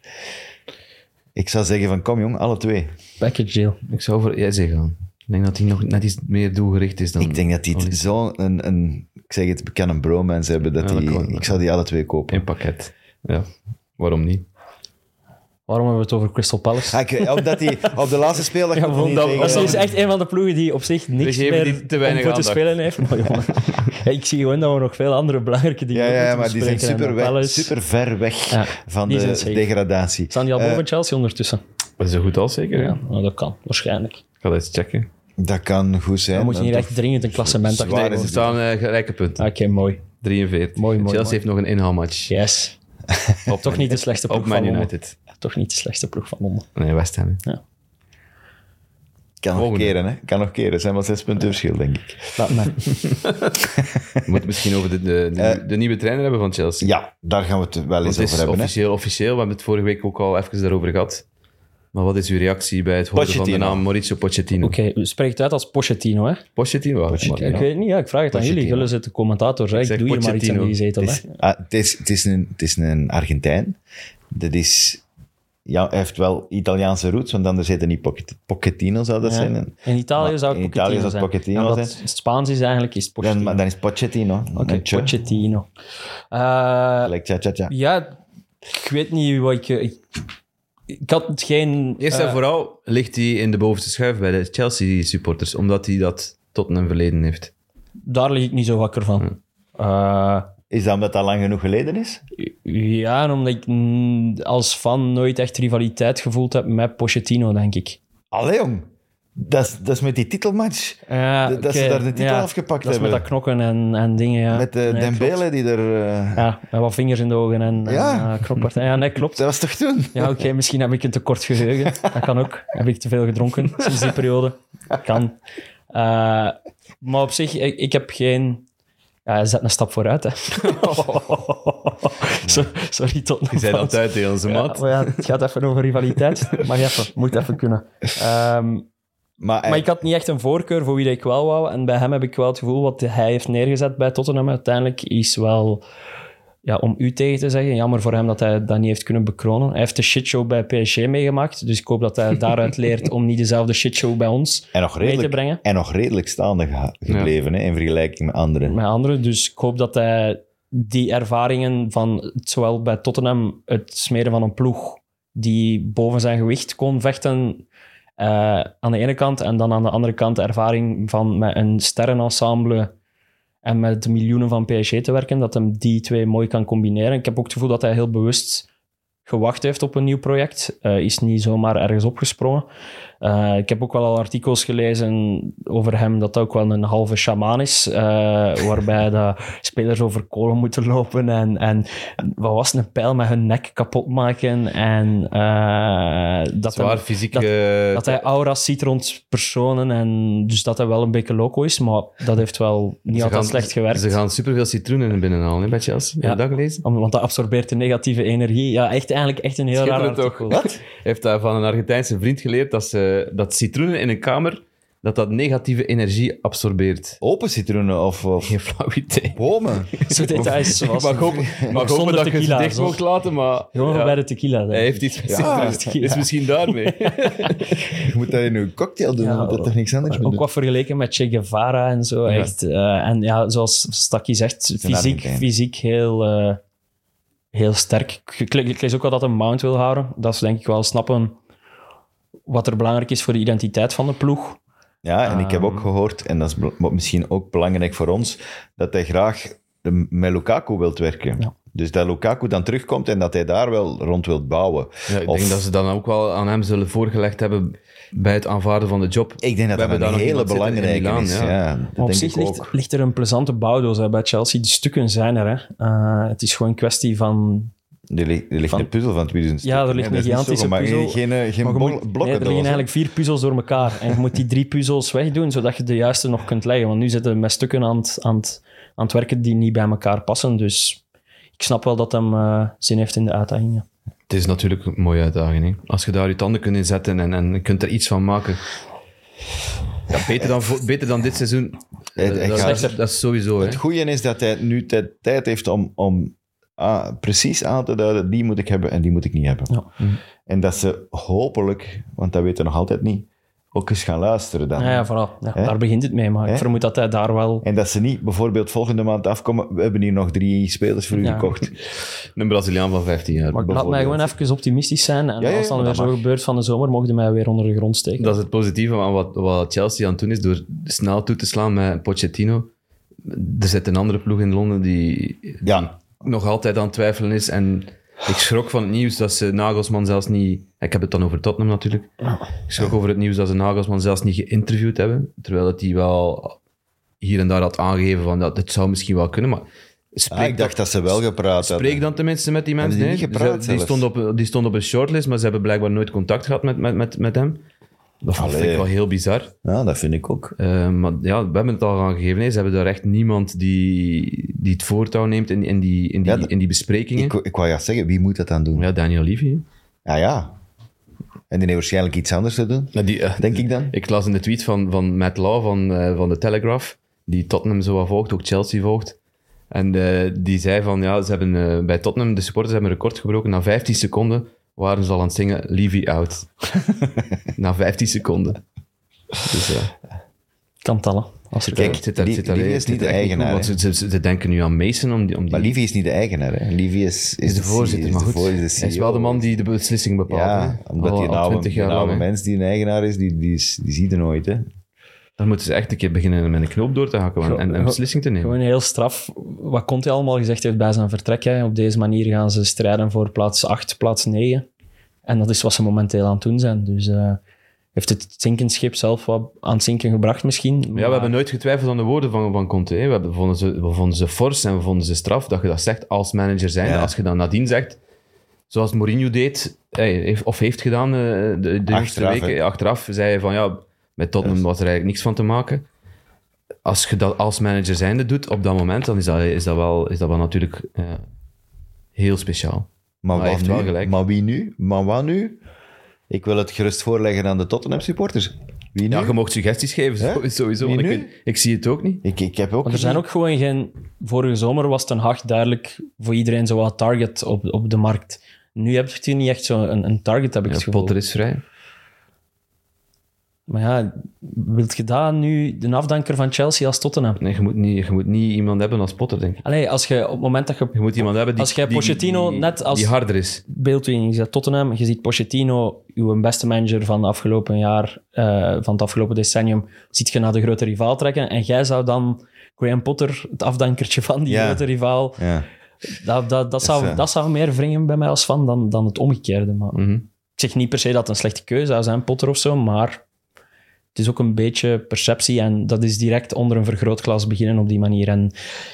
B: Ik zou zeggen van, kom jong, alle twee.
C: Package deal.
D: Ik zou voor Eze gaan. Ik denk dat hij nog net iets meer doelgericht is dan...
B: Ik denk dat die
D: Olise.
B: zo'n, een, een, ik zeg het, ik kan een bromance hebben. Dat
D: Ja, dat
B: die,
D: kan, ja.
B: ik zou die alle twee kopen.
D: In pakket. Ja, waarom niet?
C: Waarom hebben we het over Crystal Palace?
B: Ah, ik- omdat die op de laatste speeldag...
C: Ja,
B: komt
C: want
B: niet
D: dat-
B: tegen-
C: Dat is echt een van de ploegen die op zich niks
D: geven
C: meer
D: die te weinig
C: om voor te
D: aandacht.
C: spelen heeft. Maar jongen, ik zie gewoon dat we nog veel andere belangrijke dingen
B: Ja,
C: ook
B: ja, ja,
C: moeten
B: maar die zijn
C: bespreken.
B: super,
C: En
B: weg,
C: eh, Palace-
B: super ver weg
C: Ja,
B: van
C: die
B: de
C: zijn safe.
B: degradatie.
C: Staan die al
B: Eh,
C: boven Chelsea ondertussen?
D: Dat is zo goed als zeker, hè?
C: Ja, nou, dat kan, waarschijnlijk.
D: Ik ga dat eens checken.
B: Dat kan goed zijn.
C: Dan moet je niet
B: Dat-
C: echt dringend een klassement
B: Zwaar
C: achter. Ah,
B: is dus-
D: Ze
B: het.
D: staan eh, gelijke punten.
C: Oké, mooi.
D: 43.
C: Mooi, mooi,
D: Chelsea
C: mooi.
D: heeft nog een inhaalmatch.
C: Yes. Toch niet de slechtste ploeg
D: Op
C: van
D: Man
C: Londen.
D: United.
C: Toch niet de slechtste ploeg van Londen.
D: Nee, West Ham. hè.
B: Kan nog
D: Volgende.
B: keren, hè? Kan nog keren. zijn maar zes punten verschil, denk ik.
C: Laat maar.
D: We moeten misschien over de, de, de, de nieuwe trainer hebben van Chelsea.
B: Eh, Ja, daar gaan we het wel eens
D: Want
B: over
D: het is
B: hebben. hè.
D: officieel, officieel. We hebben het vorige week ook al even daarover gehad. Maar wat is uw reactie bij het horen van
B: Pochettino.
D: de naam Mauricio Pochettino?
C: Oké, spreek het uit als Pochettino, hè?
D: Pochettino? wel,
B: Pochettino.
D: maar
C: Ik
D: ja.
C: weet niet, ja, ik vraag het aan jullie.
B: Pochettino.
C: Jullie zitten commentators, hè? Ik,
D: zeg
C: doe hier maar iets aan die
D: Pochettino.
C: gezetel,
B: Het
C: hè?
B: is, ah, het, is, het, is een, het is een Argentijn. Dat is... Ja, hij heeft wel Italiaanse roots, want anders heet hij niet Pocket- Pochettino, zou dat
C: Ja.
B: zijn. En,
C: In Italië
B: Maar
C: zou het
B: in Italië
C: Pochettino
B: zou het
C: zijn.
B: Pochettino
C: Ja, omdat
B: zijn.
C: het Spaans is eigenlijk, is het Pochettino.
B: maar dan is Pochettino.
C: Oké,
B: Een tje.
C: Pochettino. Eh,
B: Gelijk, tja, tja, tja.
C: ja, ik weet niet wat ik... eh, Ik, ik had het geen...
D: Eerst en vooral ligt hij in de bovenste schuif bij de Chelsea-supporters, omdat hij dat tot een verleden heeft.
C: Daar lig ik niet zo wakker van.
B: Hm.
C: Eh,
B: Is dat omdat dat lang genoeg geleden is?
C: ja, en omdat ik mm, als fan nooit echt rivaliteit gevoeld heb met Pochettino, denk ik.
B: Allee, jong. Dat is- dat is met die titelmatch.
C: Ja,
B: Dat- dat ze
C: oké,
B: daar de titel afgepakt
C: dat is
B: hebben.
C: met dat knokken en, en dingen, ja.
B: Met de
C: Nee,
B: Dembele
C: klopt.
B: die er... eh,
C: Ja, met wat vingers in de ogen en, en
B: Ja.
C: ja. knokpartijen. Ja, nee, klopt.
B: Dat was toch toen?
C: Ja, oké, misschien heb ik een tekort geheugen. Dat kan ook. Heb ik te veel gedronken sinds die periode? Kan. Eh, maar op zich, ik, ik heb geen... Ja, hij zet een stap vooruit, hè. Zo- Sorry, tot nog
D: Die zei dat uit tegen onze
C: ja,
D: maat.
C: maar ja, Het gaat even over rivaliteit. Maar even, moet even kunnen. Ehm,
B: Maar,
C: maar ik had niet echt een voorkeur voor wie dat ik wel wou. En bij hem heb ik wel het gevoel wat hij heeft neergezet bij Tottenham uiteindelijk is wel... Ja, om u tegen te zeggen, jammer voor hem dat hij dat niet heeft kunnen bekronen. Hij heeft de shitshow bij PSG meegemaakt. Dus ik hoop dat hij daaruit leert om niet dezelfde shitshow bij ons
B: en, nog redelijk,
C: mee te brengen.
B: en nog redelijk staande geha- gebleven hè, in vergelijking met anderen.
C: met anderen. Dus ik hoop dat hij die ervaringen van het- zowel bij Tottenham het smeren van een ploeg die boven zijn gewicht kon vechten eh, aan de ene kant en dan aan de andere kant de ervaring van met een sterrenensemble en met de miljoenen van PSG te werken, dat hem die twee mooi kan combineren. Ik heb ook het gevoel dat hij heel bewust gewacht heeft op een nieuw project. eh, is niet zomaar ergens opgesprongen. Eh, ik heb ook wel al artikels gelezen over hem dat hij ook wel een halve shaman is. eh, waarbij de spelers over kolen moeten lopen en, en wat was het, een pijl met hun nek kapot maken. En eh, dat,
D: Zwaar
C: hij,
D: fysiek...
C: dat-
D: eh,
C: dat hij aura's ziet rond personen. En dus dat hij wel een beetje loco is, maar dat heeft wel niet
D: ze
C: altijd
D: gaan-
C: slecht gewerkt.
D: Ze gaan superveel citroenen binnenhalen hè, bij Chelsea. Heb
C: Ja.
D: je dat gelezen?
C: Om- want dat absorbeert de negatieve energie. Ja, echt eigenlijk echt een heel raar
D: Schitterend
C: artikel.
D: toch? Heeft hij van een Argentijnse vriend geleerd dat, ze, dat citroenen in een kamer dat dat negatieve energie absorbeert.
B: Open citroenen of, of
D: Geen flauw idee.
B: bomen.
C: Zo details zoals...
D: mag hopen, mag hopen
C: zonder
D: dat je ze
C: tequila,
D: dicht
C: zo.
D: mocht laten, maar...
C: Gewoon
D: ja,
C: bij de tequila. denk ik.
D: Hij heeft iets met
C: Ja.
D: citroenen. Is misschien daarmee.
B: Je moet dat in je cocktail doen,
C: Ja,
B: omdat dat toch niks anders mee
C: Ook
B: doen.
C: wat vergeleken met Che Guevara en zo. Echt, eh, en ja, zoals Stakkie zegt,
B: een
C: fysiek,
B: Argentijn.
C: fysiek heel, eh, heel sterk. Ik, ik, ik lees ook wel dat hij Mount wil houden. Dat ze denk ik wel snappen wat er belangrijk is voor de identiteit van de ploeg.
B: Ja, en ik
C: Ah.
B: heb ook gehoord, en dat is bel- misschien ook belangrijk voor ons, dat hij graag de- met eh, Lukaku wilt werken.
C: Ja.
B: Dus dat Lukaku dan terugkomt en dat hij daar wel rond wil bouwen.
D: Ja, ik
B: Of-
D: denk dat ze dan ook wel aan hem zullen voorgelegd hebben bij het aanvaarden van de job.
B: Ik denk dat
D: We
B: dat
D: hebben daar
B: een
D: nog
B: hele
D: iemand zitten in
B: belangrijke
D: Milaan,
B: is. Ja.
D: ja.
B: dat
C: Maar op
B: denk
C: zich
B: ik ook.
C: ligt, ligt er een plezante bouwdoos hè, bij Chelsea. De stukken zijn er. Hè. Eh, het is gewoon een kwestie van...
B: Er ligt, er ligt een puzzel van 2000
C: Ja, er
B: stukken,
C: ligt
B: hè.
C: een
B: Dat is niet zo,
C: gigantische
B: maar geen-
C: puzzel.
B: Geen, geen
C: Maar je
B: bol-
C: moet- nee, er
B: blokkendoos,
C: liggen
B: hè.
C: eigenlijk vier puzzels door elkaar. En je moet die drie puzzels wegdoen, zodat je de juiste nog kunt leggen. Want nu zitten we met stukken aan het, aan, het, aan het werken die niet bij elkaar passen. Dus ik snap wel dat hem eh, zin heeft in de uitdagingen.
D: Het is natuurlijk een mooie uitdaging. hè. Als je daar je tanden kunt inzetten en, en je kunt er iets van maken. Ja, beter, dan, vo- beter dan dit seizoen.
B: Hij- hij
D: dat,
B: gaat-
D: dat, dat is sowieso. Hè.
B: Het goede is dat hij nu de tijd heeft om, om ah, precies aan te duiden, die moet ik hebben en die moet ik niet hebben.
C: Ja.
B: En dat ze hopelijk, want dat weten we nog altijd niet, ook eens gaan luisteren dan.
C: Ja, ja, voilà. Ja,
B: Hè?
C: daar begint het mee, maar
B: Hè?
C: ik vermoed dat hij daar wel...
B: En dat ze niet bijvoorbeeld volgende maand afkomen, we hebben hier nog drie spelers voor u
C: Ja.
B: gekocht.
D: Een Braziliaan van 15 jaar.
C: Maar laat mij gewoon even optimistisch zijn. En
B: Ja, ja,
C: als dan
B: ja,
C: weer
B: dat
C: zo
B: mag.
C: gebeurt van de zomer, mogen die mij weer onder de grond steken.
D: Dat is het positieve aan wat, wat Chelsea aan het doen is, door snel toe te slaan met Pochettino. Er zit een andere ploeg in Londen die
B: Ja,
D: nog altijd aan het twijfelen is. En ik schrok van het nieuws dat ze Nagelsman zelfs niet... Ik heb het dan over Tottenham natuurlijk. Ik schrok over het nieuws dat ze Nagelsman zelfs niet geïnterviewd hebben. Terwijl dat hij wel hier en daar had aangegeven van dat het zou misschien wel kunnen, maar... Spreek,
B: ah, ik dacht dat ze wel gepraat
D: dan, spreek
B: hadden.
D: dan tenminste met die mensen.
B: Hebben die
D: hè?
B: niet gepraat
D: Ze- die,
B: zelfs?
D: stond op, die stond op een shortlist, maar ze hebben blijkbaar nooit contact gehad met, met, met, met hem. Dat vond
B: Allee.
D: ik wel heel bizar.
B: Ja, Nou, dat vind ik ook.
D: Eh, maar ja, we hebben het al aangegeven. hè. Ze hebben daar echt niemand die, die het voortouw neemt in, in, die, in, die,
B: Ja, dat-
D: in die besprekingen.
B: Ik, ik wou juist zeggen, wie moet dat dan doen? Ja,
D: Ja, Daniel Levy. hè.
B: ja. En die heeft waarschijnlijk iets anders te doen,
D: Nou, die, eh,
B: denk ik dan.
D: ik las in de tweet van, van Matt Law van, eh, van de Telegraph, die Tottenham zo wat volgt, ook Chelsea volgt. En eh, die zei van, ja, ze hebben eh, bij Tottenham, de supporters hebben een record gebroken. Na 15 seconden waren ze al aan het zingen Levy out. Na 15 seconden. Dus eh,
C: Kan tellen. Als er
B: Kijk,
D: het zit daar-
B: Levy-
D: het zit daar-
B: Levy
D: het
B: is
D: zit
B: niet
D: er
B: de
D: echt goed,
B: eigenaar,
D: want Ze, ze, ze denken nu aan Mason om die... Om die
B: Maar Livy is niet de eigenaar, hè. Livy is, is,
D: is de voorzitter,
B: is
D: maar
B: de
D: goed.
B: voorzitter,
D: hij is wel de
B: CEO.
D: man die de beslissing bepaalt.
B: Ja,
D: hè.
B: omdat
D: al,
B: die
D: al
B: nou
D: 20
B: een
D: jaar
B: oude
D: lang. hè.
B: mens die een eigenaar is, die, die, is- die ziet er nooit. Hè.
D: Dan moeten ze echt een keer beginnen met een knoop door te hakken man, en een beslissing te nemen.
C: Gewoon heel straf. Wat Conte allemaal gezegd heeft bij zijn vertrek. Hè. Op deze manier gaan ze strijden voor plaats 8, plaats 9. En dat is wat ze momenteel aan het doen zijn. Dus eh, heeft het zinkendschip zelf wat aan het zinken gebracht misschien.
D: Ja, we hebben nooit getwijfeld aan de woorden van, van Conte. hè. We, hebben, vonden ze, we vonden ze fors en we vonden ze straf dat je dat zegt als manager zijn.
B: Ja.
D: Als je dan nadien zegt, zoals Mourinho deed, hey, heeft- of heeft gedaan eh, de, de eerste
B: Achteraf,
D: weken,
B: hè.
D: eh, achteraf, zei je van ja, met Tottenham was er eigenlijk niks van te maken. Als je dat als manager zijnde doet op dat moment, dan is dat, is dat, wel, is dat wel natuurlijk eh, heel speciaal.
B: Maar,
D: hij
B: wat
D: heeft
B: nu?
D: wel gelijk.
B: maar wie nu? Maar wat nu? Ik wil het gerust voorleggen aan de Tottenham supporters. Wie nu?
D: Ja, je mocht suggesties geven,
B: Hè?
D: sowieso.
B: Wie
D: want ik,
B: nu?
D: weet- ik zie het ook niet.
B: ik, ik heb ook.
C: Maar er zijn
B: gezien-
C: ook gewoon geen... Vorige zomer was Ten Hag duidelijk voor iedereen zo'n target op, op de markt. Nu heb je het hier niet echt zo'n een, een target, heb ik het
D: Ja,
C: gevoel.
D: Potter is vrij.
C: Maar ja, wilt je daar nu de afdanker van Chelsea als Tottenham?
D: Nee, je moet, niet, je moet niet iemand hebben als Potter, denk ik.
C: Allee, als je op het moment dat
D: Je
C: je
D: moet iemand hebben die...
C: Als jij
D: die-
C: Pochettino
D: die-
C: net als-
D: Die harder is.
C: beeld in je zet Tottenham, je ziet Pochettino, uw beste manager van, de afgelopen jaar, eh, van het afgelopen decennium, ziet je naar de grote rivaal trekken. En jij zou dan Graham Potter, het afdankertje van die
B: Ja.
C: grote rivaal,
B: Ja.
C: dat, dat, dat, zou,
B: eh,
C: dat zou meer wringen bij mij als fan dan, dan het omgekeerde. Maar
D: Mhm.
C: ik zeg niet per se dat het een slechte keuze zou zijn, Potter of zo, maar het is ook een beetje perceptie en dat is direct onder een vergrootglas beginnen op die manier. En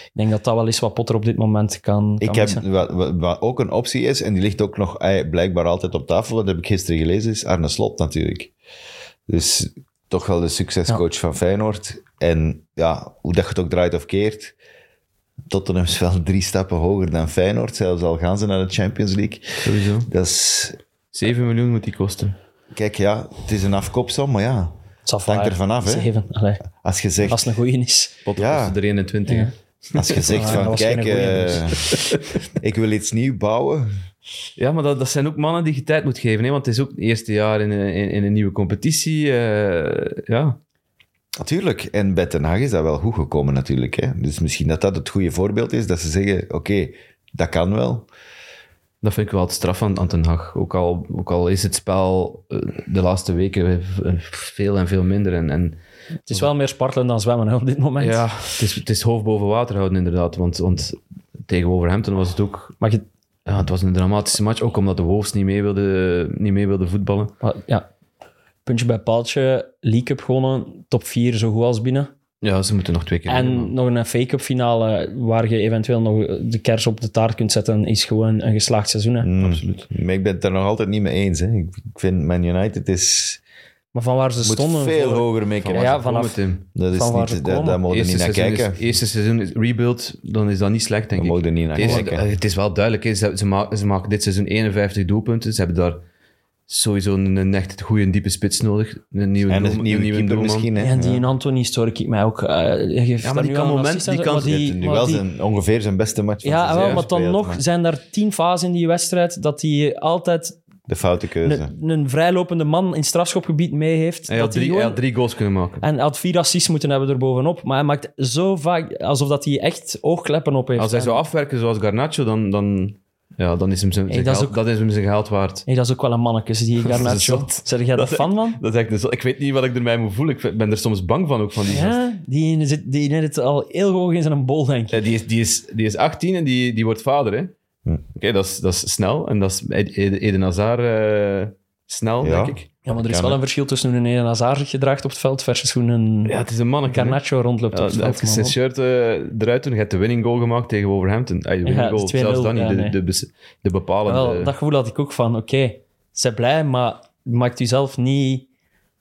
C: ik denk dat dat wel is wat Potter op dit moment kan, kan
B: Ik heb,
C: missen.
B: wat, wat- wat ook een optie is, en die ligt ook nog eh, blijkbaar altijd op tafel, dat heb ik gisteren gelezen, is Arne Slot natuurlijk. Dus toch wel de succescoach van Feyenoord. En ja, hoe dat je het ook draait of keert, Tottenham is wel drie stappen hoger dan Feyenoord, zelfs al gaan ze naar de Champions League.
D: Sowieso.
B: Dat is,
D: 7 miljoen moet die kosten.
B: kijk ja, het is een afkoopsom, maar ja,
C: Het zal
B: het hangt
C: waar.
B: ervan af. Hè.
C: Zeven. Allee,
B: Als je zegt,
C: als het een goeie is. dus-
D: Potter
B: Ja.
D: kost er 21. hè.
B: als je
C: Ja,
B: zegt
C: dat
B: van,
C: was
B: kijk,
C: geen goeie,
B: eh, ik wil iets nieuw bouwen,
D: Ja, maar dat, dat zijn ook mannen die je tijd moet geven. Hè? Want het is ook het eerste jaar in, een- in, in een nieuwe competitie. eh, ja.
B: Natuurlijk, en bij Ten Hag is dat wel goed gekomen natuurlijk. Hè? Dus misschien dat dat het goede voorbeeld is, dat ze zeggen, oké, dat kan wel.
D: Dat vind ik wel het straf aan, aan Ten Hag. Ook al, ook al is het spel eh, de laatste weken eh, veel en veel minder. En, en
C: Het is wel meer spartelen dan zwemmen hè, op dit moment.
D: Ja, het is, het is hoofd boven water houden inderdaad. Want, want tegen Wolverhampton was het ook...
C: Maar je,
D: Ja, het was een dramatische match, ook omdat de Wolves niet mee wilden, niet mee wilden voetballen.
C: maar ja, puntje bij paaltje, League Cup gewonnen, top 4 zo goed als binnen.
D: Ja, ze moeten nog twee keer winnen,
C: En
D: maar-
C: nog een FA Cup finale waar je eventueel nog de kers op de taart kunt zetten, is gewoon een geslaagd seizoen. Hè.
D: Mm.
B: Absoluut. Maar ik ben het er nog altijd niet mee eens. Hè. Ik ik vind Man United is,
C: Maar van waar ze
B: moet
C: stonden...
B: veel
C: voor-
B: hoger mee
D: Waar
B: kijken.
C: Ja,
D: ze komen,
C: vanaf-
D: Tim. Oh,
B: dat is
C: van waar ze
B: niet, daar,
C: komen.
B: daar mogen we niet
D: Eerste
B: naar
D: seizoen
B: kijken.
D: Is, eerste seizoen is rebuild, dan is dat niet slecht, denk
B: We
D: ik.
B: mogen er niet naar
D: Het is-
B: kijken.
D: het is wel duidelijk, hè. ze, ze ma- ze maken dit seizoen 51 doelpunten. Ze hebben daar sowieso een, een echt goede diepe spits nodig. Een nieuwe,
B: En
D: doel-
B: een nieuwe keeper
D: doelman.
B: misschien. Hè.
C: Ja, en die
B: Ja.
C: in Antony stoor ik mij ook. eh, hij geeft
D: maar
C: daar
D: die
C: nu
D: kan
C: al een
D: moment-
C: assist en
D: die
C: zo,
D: kan-
C: maar
B: Het is nu
C: maar
B: wel
C: die-
B: zijn, ongeveer zijn beste match van
C: Ja,
B: het
C: wel,
B: seizoen
C: maar dan
B: gespeeld,
C: nog
B: maar
C: zijn er tien fasen in die wedstrijd dat hij altijd
B: De foute keuze.
C: een, een vrijlopende man in strafschopgebied mee heeft.
D: Dus, eh. Hij had
C: dat hij
D: drie, hij
C: gewoon-
D: had drie goals kunnen maken.
C: En hij had vier assists moeten hebben erbovenop. Maar hij maakt zo vaak alsof dat hij echt oogkleppen op heeft.
D: Als hij
C: En-
D: zou afwerken zoals Garnacho, dan, dan, ja, dan is hem zijn,
C: Hey,
D: zijn
C: dat is
D: geld, dat is hem zijn geld waard.
C: Hey, dat is ook wel een mannekes, die Garnacho.
D: zot.
C: Zeg jij daar
D: Dat is
C: fan van?
D: Dat is echt een zo- ik weet niet wat ik ermee moet voelen. Ik vind- ben er soms bang van ook, van die gast.
C: Ja, die, zit, die net het al heel hoog in zijn bol, denk ik.
D: Ja, die, is, die, is, die is 18 en die, die wordt vader, hè.
B: Hm.
D: Oké, dat, is, dat is snel. En dat is Ed- Ed- Eden Hazard eh, snel,
B: Ja.
D: denk ik.
C: Ja, maar er
B: Kan,
C: is wel
B: hè.
C: een verschil tussen hoe een Eden Hazard zich gedraagt op het veld versus hoe een
D: Ja, het is een manneke. hè.
C: Garnacho rondloopt
D: Ja,
C: op het veld.
D: even zijn
C: man.
D: shirt eh, eruit doen. Je hebt de winning goal gemaakt tegen Wolverhampton. Ah, de winning
C: Ja, de
D: goal, zelfs
C: 2-0,
D: dan niet.
C: ja,
D: de,
C: nee.
D: de, bes- de bepalende.
C: Wel, dat gevoel had ik ook van, oké, ze zij blij, maar maakt u zelf niet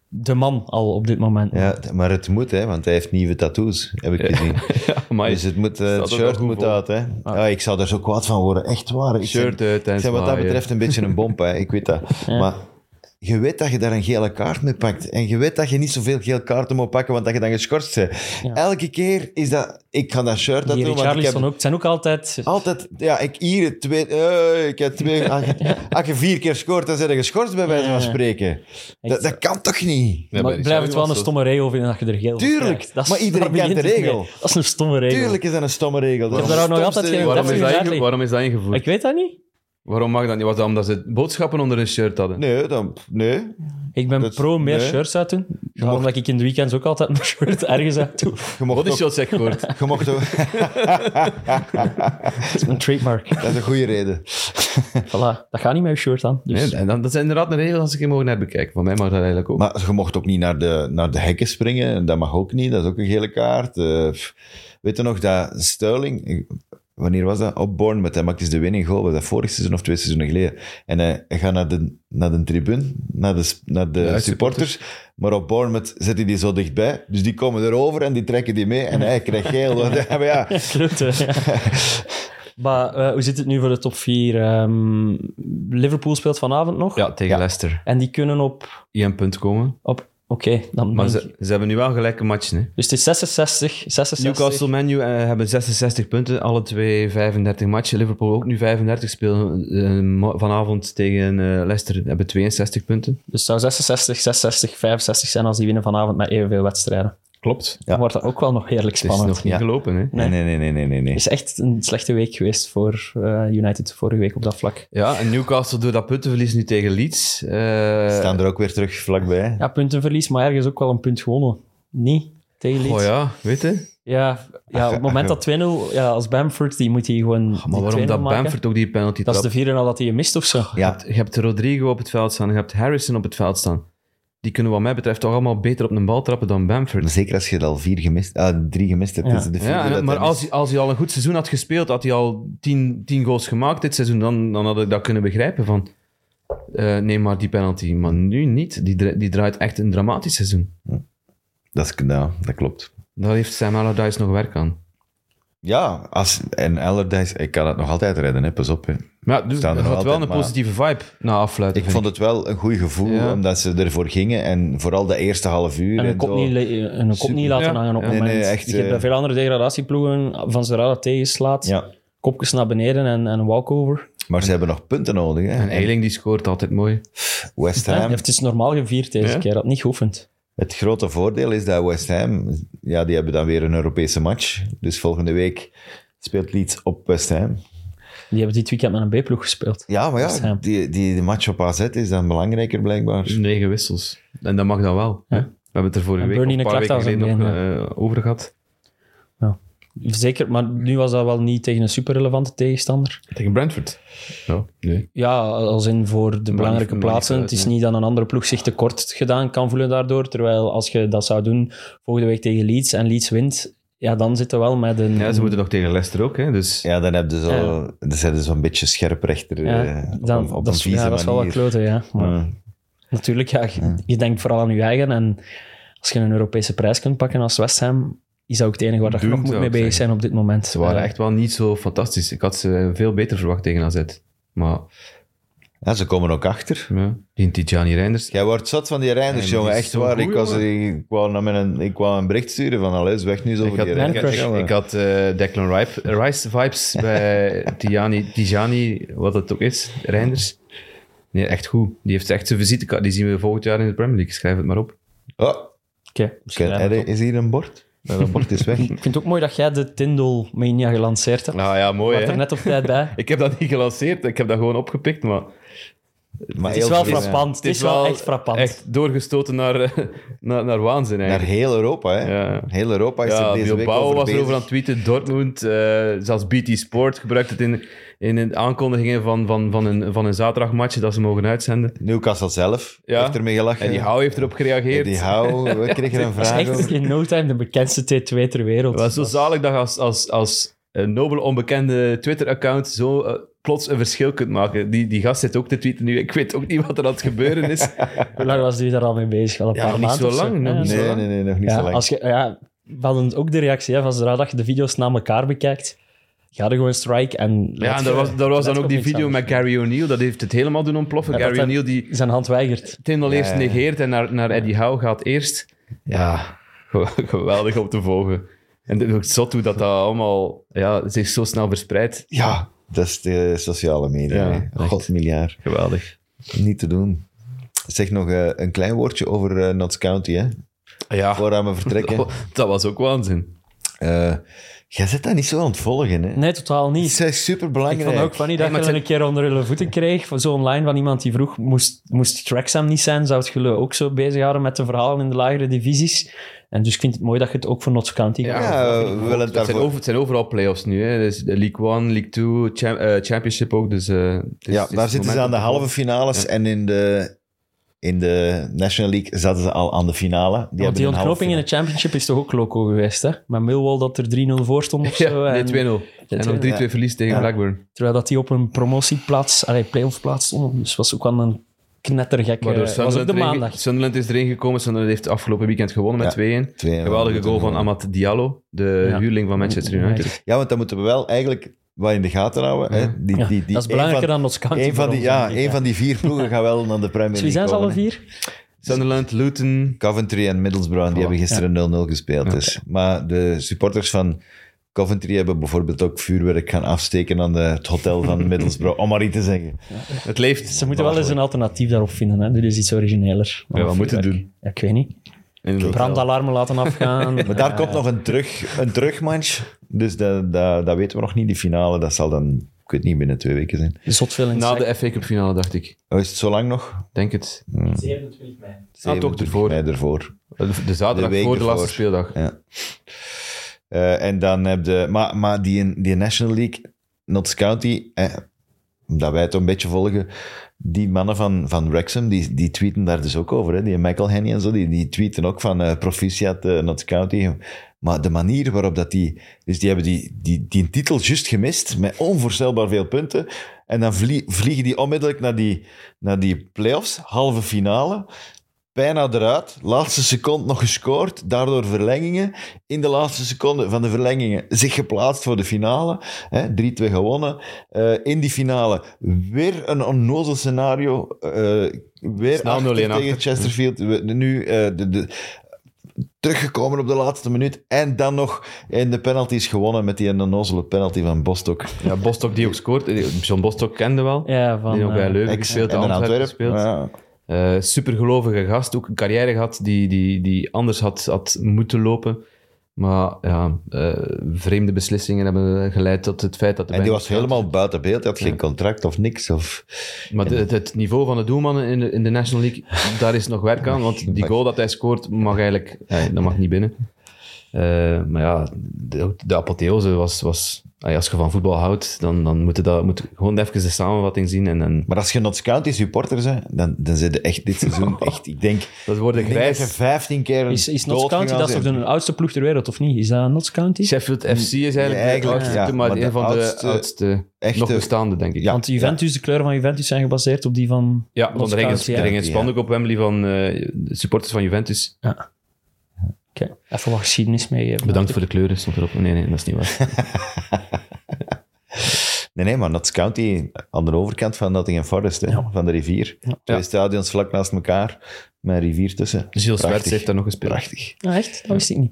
C: de man al op dit moment.
B: Ja, maar het moet, hè, want hij heeft nieuwe tattoos, heb ik gezien.
D: Amai,
B: Dus het, moet, eh, het
D: Ah, staat er wel
B: shirt
D: goed
B: moet
D: voor.
B: uit. Hè. Ja, ik zou daar zo kwaad van worden, echt waar. Ik
D: shirt
B: ben-
D: uit en
B: Ik ben wat dat
D: zwaaien.
B: betreft een beetje een bomp, hè. ik weet dat. Maar je weet dat je daar een gele kaart mee pakt. En je weet dat je niet zoveel gele kaarten moet pakken, want dat je dan geschorst bent.
C: Ja.
B: Elke keer is dat... Ik ga dat shirt uit
C: die
B: doen, want ik heb
C: Richarlison ook, het zijn ook altijd...
B: altijd... Ja, ik hier het twee... eh, ik heb twee als, je, als je vier keer scoort, dan zijn je geschorst bij wijze van
C: Ja.
B: spreken. Dat, dat kan toch niet?
D: Ja,
C: maar
D: bij
C: ik blijf het wel een
D: Richarlison.
C: stomme regel vinden dat je er geel voor
B: Tuurlijk,
C: krijgt. Dat is-
B: maar iedereen
C: daar begint
B: kent de
C: het mee.
B: regel.
C: Dat is een stomme regel.
B: Tuurlijk is dat een stomme regel. Dat
C: Ik
B: is
C: heb daar
B: de
C: ook nog
B: stomste regel.
C: altijd geen-
D: Waarom is, dat
C: Definitely.
D: inge- waarom is dat ingevoerd?
C: Ik weet dat niet.
D: Waarom mag dat niet? Was dat omdat ze boodschappen onder hun shirt hadden?
B: Nee, dan, nee.
C: Ik ben
B: Dat-
C: pro meer
B: nee.
C: shirts uit doen. Daarom dat ik in de weekends ook altijd mijn shirt ergens uit doe.
B: Je mocht
D: Wat is
B: nog-
D: shots zeg gehoord?
B: Je mocht ook-
C: Dat is mijn trademark.
B: Dat is een goede reden.
C: Voilà, dat gaat niet met je shirt aan. Dus.
D: Nee, en dan, dat zijn inderdaad een regel als ik hem mogen naar bekijken. Van mij mag dat eigenlijk ook.
B: Maar je mocht ook niet naar de, naar de hekken springen. En Dat mag ook niet. Dat is ook een gele kaart. Eh, pff. weet je nog dat Sterling... ik- Wanneer was dat? Op Bournemouth. Hij maakte dus de winning goal. Was dat vorig seizoen of twee seizoenen geleden? En hij hij gaat naar de, naar de tribune, naar de, s- naar de
D: Ja,
B: supporters. Maar op Bournemouth zet hij die zo dichtbij. Dus die komen erover en die trekken die mee. En hij krijgt geel. Want, ja, maar ja,
C: Klote, ja. Maar eh, hoe zit het nu voor de top 4? Ehm, Liverpool speelt vanavond nog.
D: ja, tegen Leicester.
C: En die kunnen op...
D: Eén punt komen.
C: op Oké, dan
D: Maar
C: denk
D: ze, ze hebben nu wel gelijke matchen. Hè.
C: Dus het is 66, 66.
D: Newcastle Man U eh, hebben 66 punten, alle twee 35 matchen. Liverpool ook nu 35 spelen eh, mo- vanavond tegen eh, Leicester, hebben 62 punten.
C: Dus het zou 66, 66, 65 zijn als die winnen vanavond met evenveel wedstrijden.
D: Klopt.
B: Ja.
C: Dan wordt dat ook wel nog heerlijk
D: Het is
C: spannend.
D: nog niet
B: Ja.
D: gelopen, hè?
B: Nee, nee, nee, nee, nee, nee. nee.
C: Het is echt een slechte week geweest voor eh, United vorige week op dat vlak.
D: Ja, en Newcastle door dat puntenverlies nu tegen Leeds. eh,
B: Staan er ook weer terug vlakbij.
C: Ja, puntenverlies, maar ergens ook wel een punt gewonnen. Niet tegen Leeds.
D: Oh ja, weet je?
C: Ja, ja, op het moment dat 2-0... Ja, als Bamford, die moet hij gewoon die
D: Maar
C: 2-0
D: waarom dat
C: maken.
D: Bamford ook die penalty
C: Dat is
D: trapt?
C: de vierde al dat hij je mist of zo.
B: Ja,
D: Je hebt Rodrigo op het veld staan, je hebt Harrison op het veld staan. Die kunnen wat mij betreft toch allemaal beter op een bal trappen dan
B: Maar
D: Bamford.
B: zeker als je het al vier gemist, ah, drie gemist hebt.
C: Ja.
B: is het de vierde
D: Ja, en-
B: dat
D: maar
B: hij
D: als
B: mist.
D: hij, als hij al een goed seizoen had gespeeld, had hij al 10 goals gemaakt dit seizoen, dan, dan had ik dat kunnen begrijpen van... eh, neem maar die penalty. Maar nu niet. Die, dra- die draait echt een dramatisch seizoen.
B: Dat, is, nou, dat klopt.
D: Daar heeft Sam Allardyce nog werk aan.
B: Ja, als, en Allardyce, ik kan het nog altijd redden, hè, pas op. Hè.
D: Maar ja, dus,
B: Staan
D: het
B: er
D: had
B: nog
D: wel een
B: altijd, maar-
D: positieve vibe na afluiten.
B: Ik vond het wel een goed gevoel,
D: Ja.
B: omdat ze ervoor gingen. En vooral de eerste half uur.
C: En een kop
B: zo.
C: niet, le- en een kop
B: Super.
C: niet laten
D: Ja.
C: hangen op het
B: Nee, nee,
C: moment.
B: echt,
C: je hebt
B: eh.
C: bij veel andere degradatieploegen van zodra dat tegenslaat,
B: Ja,
C: kopjes naar beneden en, en een walkover.
B: maar ze hebben nog punten nodig. Hè.
D: En Eiling die scoort altijd mooi.
B: West
C: Hè?
B: Ham,
C: Het is normaal gevierd deze
D: Ja.
C: keer, dat niet geoefend.
B: het grote voordeel is dat West Ham, ja, die hebben dan weer een Europese match. Dus volgende week speelt Leeds op West Ham.
C: Die hebben dit weekend met een B-ploeg gespeeld.
B: Ja, maar
C: West
B: ja,
C: Ham. Mm.
B: die, die, die match op AZ is dan belangrijker blijkbaar.
D: Negen wissels. En dat mag dan wel. hè?
C: Ja.
D: We hebben het er vorige
C: En
D: week
C: Burnley
D: of een
C: en
D: paar weken eh,
C: Klaakthuis
D: geleden nog
C: erbij,
D: eh, over gehad.
C: Zeker, maar nu was dat wel niet tegen een superrelevante tegenstander.
D: Tegen Brentford. Ja, nee.
C: Ja, als in voor de belangrijke
D: niet
C: plaatsen.
D: uit,
C: Het is
D: nee.
C: niet dat een andere ploeg zich tekort gedaan kan voelen daardoor. Terwijl als je dat zou doen volgende week tegen Leeds en Leeds wint, ja, dan zitten we wel met een...
D: Ja, ze moeten nog tegen Leicester ook, hè. Dus
B: Ja, dan heb je zo, dan zijn ze zo'n beetje scherprechter
C: Ja,
B: eh, op
C: dan-
B: een, op
C: dat,
B: een
C: is,
B: vieze
C: ja, dat is wel wat
B: manier.
C: kloten, ja. Maar
B: Ja.
C: Natuurlijk, ja, je, je denkt vooral aan je eigen. En als je een Europese prijs kunt pakken als West Ham, is dat ook het enige waar dat je
D: Doen,
C: nog moet
D: zou
C: mee
D: ik
C: bezig
D: zeggen.
C: zijn op dit moment.
D: ze waren
C: Eh,
D: echt wel niet zo fantastisch. Ik had ze veel beter verwacht tegen AZ. Maar
B: Ja, ze komen ook achter.
D: ja, die Tijani Reinders...
B: Jij wordt zat van die Reinders,
D: Ja, maar
B: jongen.
D: die is
B: Echt
D: zo
B: waar.
D: goed,
B: ik, was,
D: jongen.
B: ik, wou naar mijn, ik wou een bericht sturen van alles weg nu zo
D: Ik
B: voor
D: had,
B: die
C: Man
D: ik,
B: Reinders.
C: crush.
D: had- ik had eh, Declan Ripe- Rice vibes bij Tijani, Tijani, wat het ook is, Reinders. Nee, echt goed. Die heeft echt zijn visitekaart. Die zien we volgend jaar in de Premier League. Schrijf het maar op.
B: Oh,
C: oké,
B: kijk,
C: misschien
B: er
C: eigenlijk wel.
B: is hier een bord? Nou, Dat bord is weg.
C: Ik vind het ook mooi dat jij de Tindal Mania gelanceerd hebt.
D: Nou ja, mooi
C: Je was er net op tijd bij.
D: Ik heb dat niet gelanceerd. Ik heb dat gewoon opgepikt, maar...
B: Maar
C: Het is
B: heel
C: wel
B: veel-
C: frappant. Het is wel echt frappant.
D: Echt doorgestoten naar, eh, naar, naar waanzin
B: Naar
D: eigenlijk.
B: heel Europa, hè.
D: Ja.
B: Heel Europa is
D: Ja,
B: er deze week
D: Bilbao
B: over
D: was
B: bezig.
D: erover aan het tweeten, Dortmund, eh, zelfs BT Sport gebruikt het in, in een aankondigingen van, van, van, een, van een zaterdagmatch dat ze mogen uitzenden.
B: Newcastle zelf
D: Ja.
B: heeft ermee gelachen.
D: En die Hou heeft erop gereageerd.
B: Die hou, we kregen er een
C: Dat
B: vraag
C: is echt
B: over.
C: in no time de bekendste T2 ter wereld.
D: Het was zo zalig dat je als, als, als een nobel onbekende Twitter-account zo eh, plots een verschil kunt maken. Die, die gast zit ook te tweeten nu. Ik weet ook niet wat er aan het gebeuren is.
C: Hoe lang was die daar al mee bezig? Al een
D: Ja,
C: paar
D: nog niet
C: maanden
D: zo
C: of
D: lang, nog
C: Ja,
D: niet zo
B: Nee,
D: lang.
B: nee, nee, nog niet
C: ja,
B: zo lang.
C: als je, ja, we hadden ook de reactie hè, van zodra dat je de video's na elkaar bekijkt, ga er gewoon strike en...
D: Ja, en daar was, daar was dan ook die video
C: met
D: met Gary O'Neill. Dat heeft het helemaal doen ontploffen.
C: Ja, dat
D: Gary
C: heb-
D: O'Neill die
C: Zijn hand weigert.
D: Tindal eerst
B: Ja, ja.
D: negeert en naar, naar Eddie Howe gaat eerst. Ja, ge- geweldig om te volgen. En het is ook zot hoe dat, dat allemaal ja, zich zo snel verspreidt.
B: Ja, dat is de sociale media.
D: Ja,
B: hè. God, miljard.
D: Geweldig.
B: Niet te doen. Zeg nog eh, een klein woordje over eh Notts County, hè?
D: Ja,
B: Voordat we vertrekken.
D: dat was ook waanzin.
B: Eh, jij zit dat niet zo aan het volgen, hè?
C: Nee, totaal niet.
B: Het is
C: Ik
B: superbelangrijk.
C: vond ook funny dat
D: Ja, maar
C: je
D: het
C: dat een keer onder hun voeten kreeg. van Zo online van iemand die vroeg, moest, moest Traxham niet zijn? Zou het jullie ook zo bezighouden met de verhalen in de lagere divisies? En dus ik vind het mooi dat je het ook voor Notts County gaat.
B: Ja,
D: dat
B: we
D: vind ik
B: willen
D: ook.
B: het
D: het zijn,
B: daarvoor-
D: over, het zijn overal play-offs nu. Hè. Dus de League 1, League 2, Cham- eh, Championship ook. Dus, eh, het is-
B: ja, daar
D: het is het
B: zitten ze
D: moment
B: aan de
D: om te
B: halve finales en in de, in de National League zaten ze al aan de finale. Die
C: Want
B: hebben
C: die
B: een halve
C: ontknoping in de championship is toch ook loco geweest, hè? Met Millwall dat er 3-0 voor stond of
D: volgen.
C: zo.
D: Ja, nee,
C: en-
D: 2-0. En nog 3-2
B: Ja.
D: verlies tegen
B: Ja.
D: Blackburn.
C: terwijl dat die op een promotieplaats, allee, playoff plaats stond. Dus was ook wel een knettergek. eh,
D: Waardoor
C: was ook
D: Sunderland,
C: de
D: erin-
C: maandag.
D: Sunderland is erin gekomen. Sunderland heeft afgelopen weekend gewonnen met
B: Ja,
D: 2-1.
B: 2-1,
D: Geweldige
B: dat
D: goal
B: doen
D: van
B: eh, we.
D: Amat Diallo, de
C: Ja.
D: huurling van Manchester United.
B: Ja, want dan moeten we wel eigenlijk wat in de gaten houden. Hè? Die,
C: Ja,
B: die, die,
C: dat is belangrijker dan Notts County.
B: Een
C: voor
B: van, die,
C: ons,
B: ja,
C: denk ik,
B: een van die vier ploegen gaat wel naar de Premier
C: Dus
B: League
C: wie zijn ze
B: komen,
C: alle
B: hè.
C: vier?
D: Sunderland, Luton.
B: Coventry en Middlesbrough, die hebben gisteren 0-0 gespeeld. Dus. Maar de supporters van Coventry hebben bijvoorbeeld ook vuurwerk gaan afsteken aan de, het hotel van Middlesbrough, om maar iets te zeggen.
D: Het leeft.
C: Ze moeten wel eens een alternatief daarop vinden. Hè? Doe dus iets origineler.
D: Ja, wat moeten
C: Vuurwerk.
D: doen?
C: Ja, ik weet niet.
D: Inderdaad.
C: Brandalarmen laten afgaan.
B: Maar daar komt nog een, terug, een terugmatch, dus dat, dat, dat weten we nog niet. Die finale, dat zal dan, ik weet niet, binnen twee weken zijn.
C: Eh, Zot veel in
D: Na de FA Cup finale, dacht ik.
B: Oh, is het zo lang nog?
D: Denk het.
C: 27 mei.
D: Ah, toch
B: 27
D: ervoor.
B: mei ervoor.
D: De zaterdag
B: De week
D: voor de laatste
B: ervoor.
D: speeldag.
B: Ja. Eh, en dan heb je... Maar, maar die, die National League, Notts County, eh, dat wij het een beetje volgen, die mannen van, van Wrexham, die, die tweeten daar dus ook over. Hè? Die Michael Henny en zo, die, die tweeten ook van eh, proficiat eh, Notts County. Maar de manier waarop dat die... Dus die hebben die, die, die titel juist gemist, met onvoorstelbaar veel punten. En dan vlie- vliegen die onmiddellijk naar die, naar die playoffs, halve finale bijna eruit. Laatste seconde nog gescoord. Daardoor verlengingen. In de laatste seconde van de verlengingen zich geplaatst voor de finale. hè, 3-2 gewonnen. Eh, in die finale weer een onnozel scenario. eh, weer
D: Snel 0-1
B: achter tegen
D: achter.
B: Chesterfield. We- Nu eh, de, de, teruggekomen op de laatste minuut. En dan nog in de penalties gewonnen met die onnozele penalty van Bostock.
D: Ja, Bostock die ook scoort. Eh, John Bostock kende wel.
C: Ja, van...
D: die ook bij
C: eh,
D: Leuven
B: Ex-
D: gespeeld,
B: en
D: Antwerpen
B: Antwerpen.
D: gespeeld.
B: Ja.
D: Eh, supergelovige gast, ook een carrière gehad die, die, die anders had, had moeten lopen. Maar ja, eh, vreemde beslissingen hebben geleid tot het feit dat... de
B: En die
D: Bengals-
B: was helemaal buiten beeld. Hij had geen contract of niks. Of...
D: Maar de- het, het niveau van de doelmannen in de, in de National League, daar is nog werk aan. Want die goal dat hij scoort, mag eigenlijk... eh, dat mag niet binnen. Eh, maar ja, de, de apotheose was... was ah ja, als je van voetbal houdt, dan, dan moet je dat, moet je gewoon even de samenvatting zien. En, en
B: Maar als je Notts County supporter bent, dan, dan zit je echt dit seizoen echt... Ik denk,
D: dat wordt een
B: ik denk dat je
D: grijs.
B: 15 keer een
C: Is, is Notts
B: dood
C: County,
B: gegaan
C: dat is toch
B: bent.
C: de oudste ploeg ter wereld, of niet? Is dat Notts County?
D: Sheffield FC is eigenlijk,
B: Ja, eigenlijk,
D: de oudste,
B: ja,
D: maar,
B: maar
D: een
B: de
D: van
B: oudste,
D: de oudste
B: echte-
D: nog bestaande, denk ik.
B: Ja.
C: Want Juventus, de kleuren van Juventus zijn gebaseerd op die van
D: Ja, want
C: Notts
D: er hing een-
C: County,
D: er
C: ja.
D: hing een
B: Ja.
D: spandoek op Wembley van eh, de supporters van Juventus.
C: Oké, Even wat geschiedenis mee. eh,
D: Bedankt voor de kleuren, stond erop. Nee, nee, dat is niet waar.
B: Nee, nee, maar Notts County aan de overkant van Nottingham Forest, hè, van de rivier. Twee
D: Ja.
B: stadions vlak naast elkaar, met een rivier tussen.
C: Dus
D: Gilles
B: Prachtig.
D: Swerts heeft daar nog gespeeld.
B: Prachtig.
C: Ah, echt? Dat wist ik niet.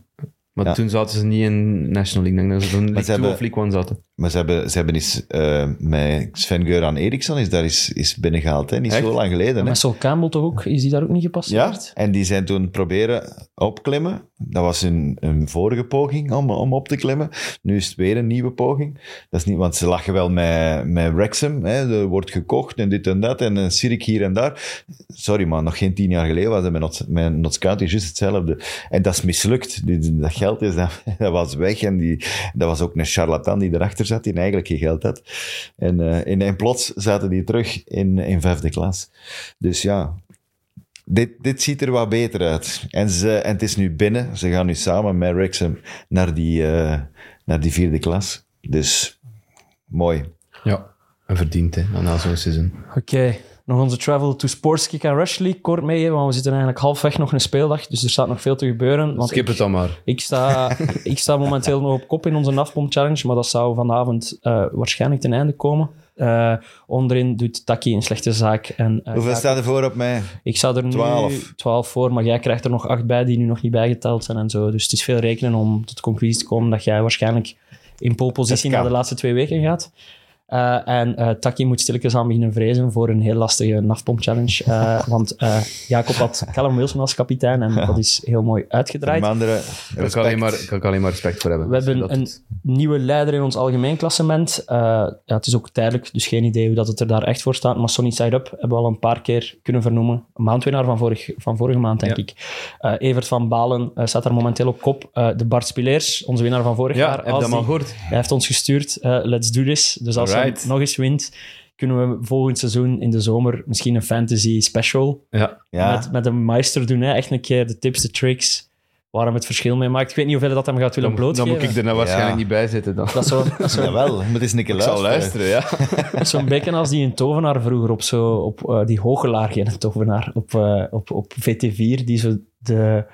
D: Maar
B: Ja.
D: toen zaten ze niet in National League. Ik denk dat ze toen League 2
B: hebben-
D: of League 1 zaten.
B: Maar ze hebben, ze hebben eens, eh, met Sven-Göran Eriksson is daar eens, is binnengehaald, hè? niet zo lang geleden. Hè?
C: Maar Sol Campbell toch ook? Is die daar ook niet
B: Ja,
C: gepasseerd?
B: en die zijn toen proberen opklimmen. Dat was hun, hun vorige poging om, om op te klimmen. Nu is het weer een nieuwe poging. Dat is niet, want ze lachen wel met, met Wrexham. Hè. Er wordt gekocht en dit en dat. En een Sirik hier en daar. Sorry man, nog geen tien jaar geleden was het met Notts- met Notts County juist hetzelfde. En dat is mislukt. Die- Dat geld is, dat, dat was weg. En die, dat was ook een charlatan die erachter zat, die eigenlijk geen geld had. En, eh, en, en plots zaten die terug in, in vijfde klas. Dus ja, dit, dit ziet er wat beter uit. En, ze, en het is nu binnen. Ze gaan nu samen met Wrexham naar die, eh, naar die vierde klas. Dus mooi.
D: Ja. En verdiend, hè, na zo'n seizoen.
C: Oké, nog onze travel to Sports Kick and Rush League kort mee, hè, want we zitten eigenlijk halfweg nog een speeldag, dus er staat nog veel te gebeuren. Want
D: Skip
C: ik,
D: het dan maar.
C: ik, sta, ik sta momenteel nog op kop in onze Nafpom Challenge, maar dat zou vanavond eh, waarschijnlijk ten einde komen. Eh, onderin doet Taki een slechte zaak. En, eh,
B: Hoeveel
C: Jacob-
B: staat er voor op mij?
C: Ik zou er nu
B: 12.
C: 12 voor, maar jij krijgt er nog 8 bij die nu nog niet bijgeteld zijn en zo. Dus het is veel rekenen om tot de conclusie te komen dat jij waarschijnlijk in polepositie
B: Het kan.
C: na de laatste twee weken gaat. Eh, en eh Taki moet stilletjes aan beginnen vrezen voor een heel lastige nafpomp challenge. Eh, want eh, Jacob had Callum Wilson als kapitein en dat is heel mooi uitgedraaid.
B: De andere
D: Daar kan, ik alleen
B: respect.
D: maar- daar kan ik alleen maar respect voor hebben.
C: We hebben
D: Dat-
C: een nieuwe leider in ons algemeen klassement. Eh, ja, het is ook tijdelijk, dus geen idee hoe dat het er daar echt voor staat. Maar Sonny Side Up hebben we al een paar keer kunnen vernoemen. Een maandwinnaar van, vorig, van vorige maand, denk
D: Ja.
C: ik. Eh, Evert van Balen eh, staat daar momenteel op kop. Eh, de Bart Spileers, onze winnaar van vorig
D: Ja,
C: jaar.
D: heb je
C: als
D: dat maar
C: die-
D: gehoord?
C: Hij heeft ons gestuurd. eh, let's do this. Dus als
D: Alright.
C: hij nog eens wint, kunnen we volgend seizoen in de zomer misschien een fantasy special
D: Ja.
B: Ja,
C: met, met een meester doen. Hè. Echt een keer de tips, de tricks, waar hem het verschil mee maakt. Ik weet niet hoeveel dat hem gaat willen
D: Dan, dan
C: blootgeven.
D: moet ik er nou waarschijnlijk
B: Ja.
D: niet bij zitten dan.
C: Dat is zo, dat is zo-
B: jawel. Je moet eens een keer
D: Ik zal
B: luisteren.
D: luisteren, ja.
C: dat is zo'n beetje als die een tovenaar vroeger op, zo, op eh, die Hoogelaar, geen tovenaar, op, eh, op, op VT4, die zo de,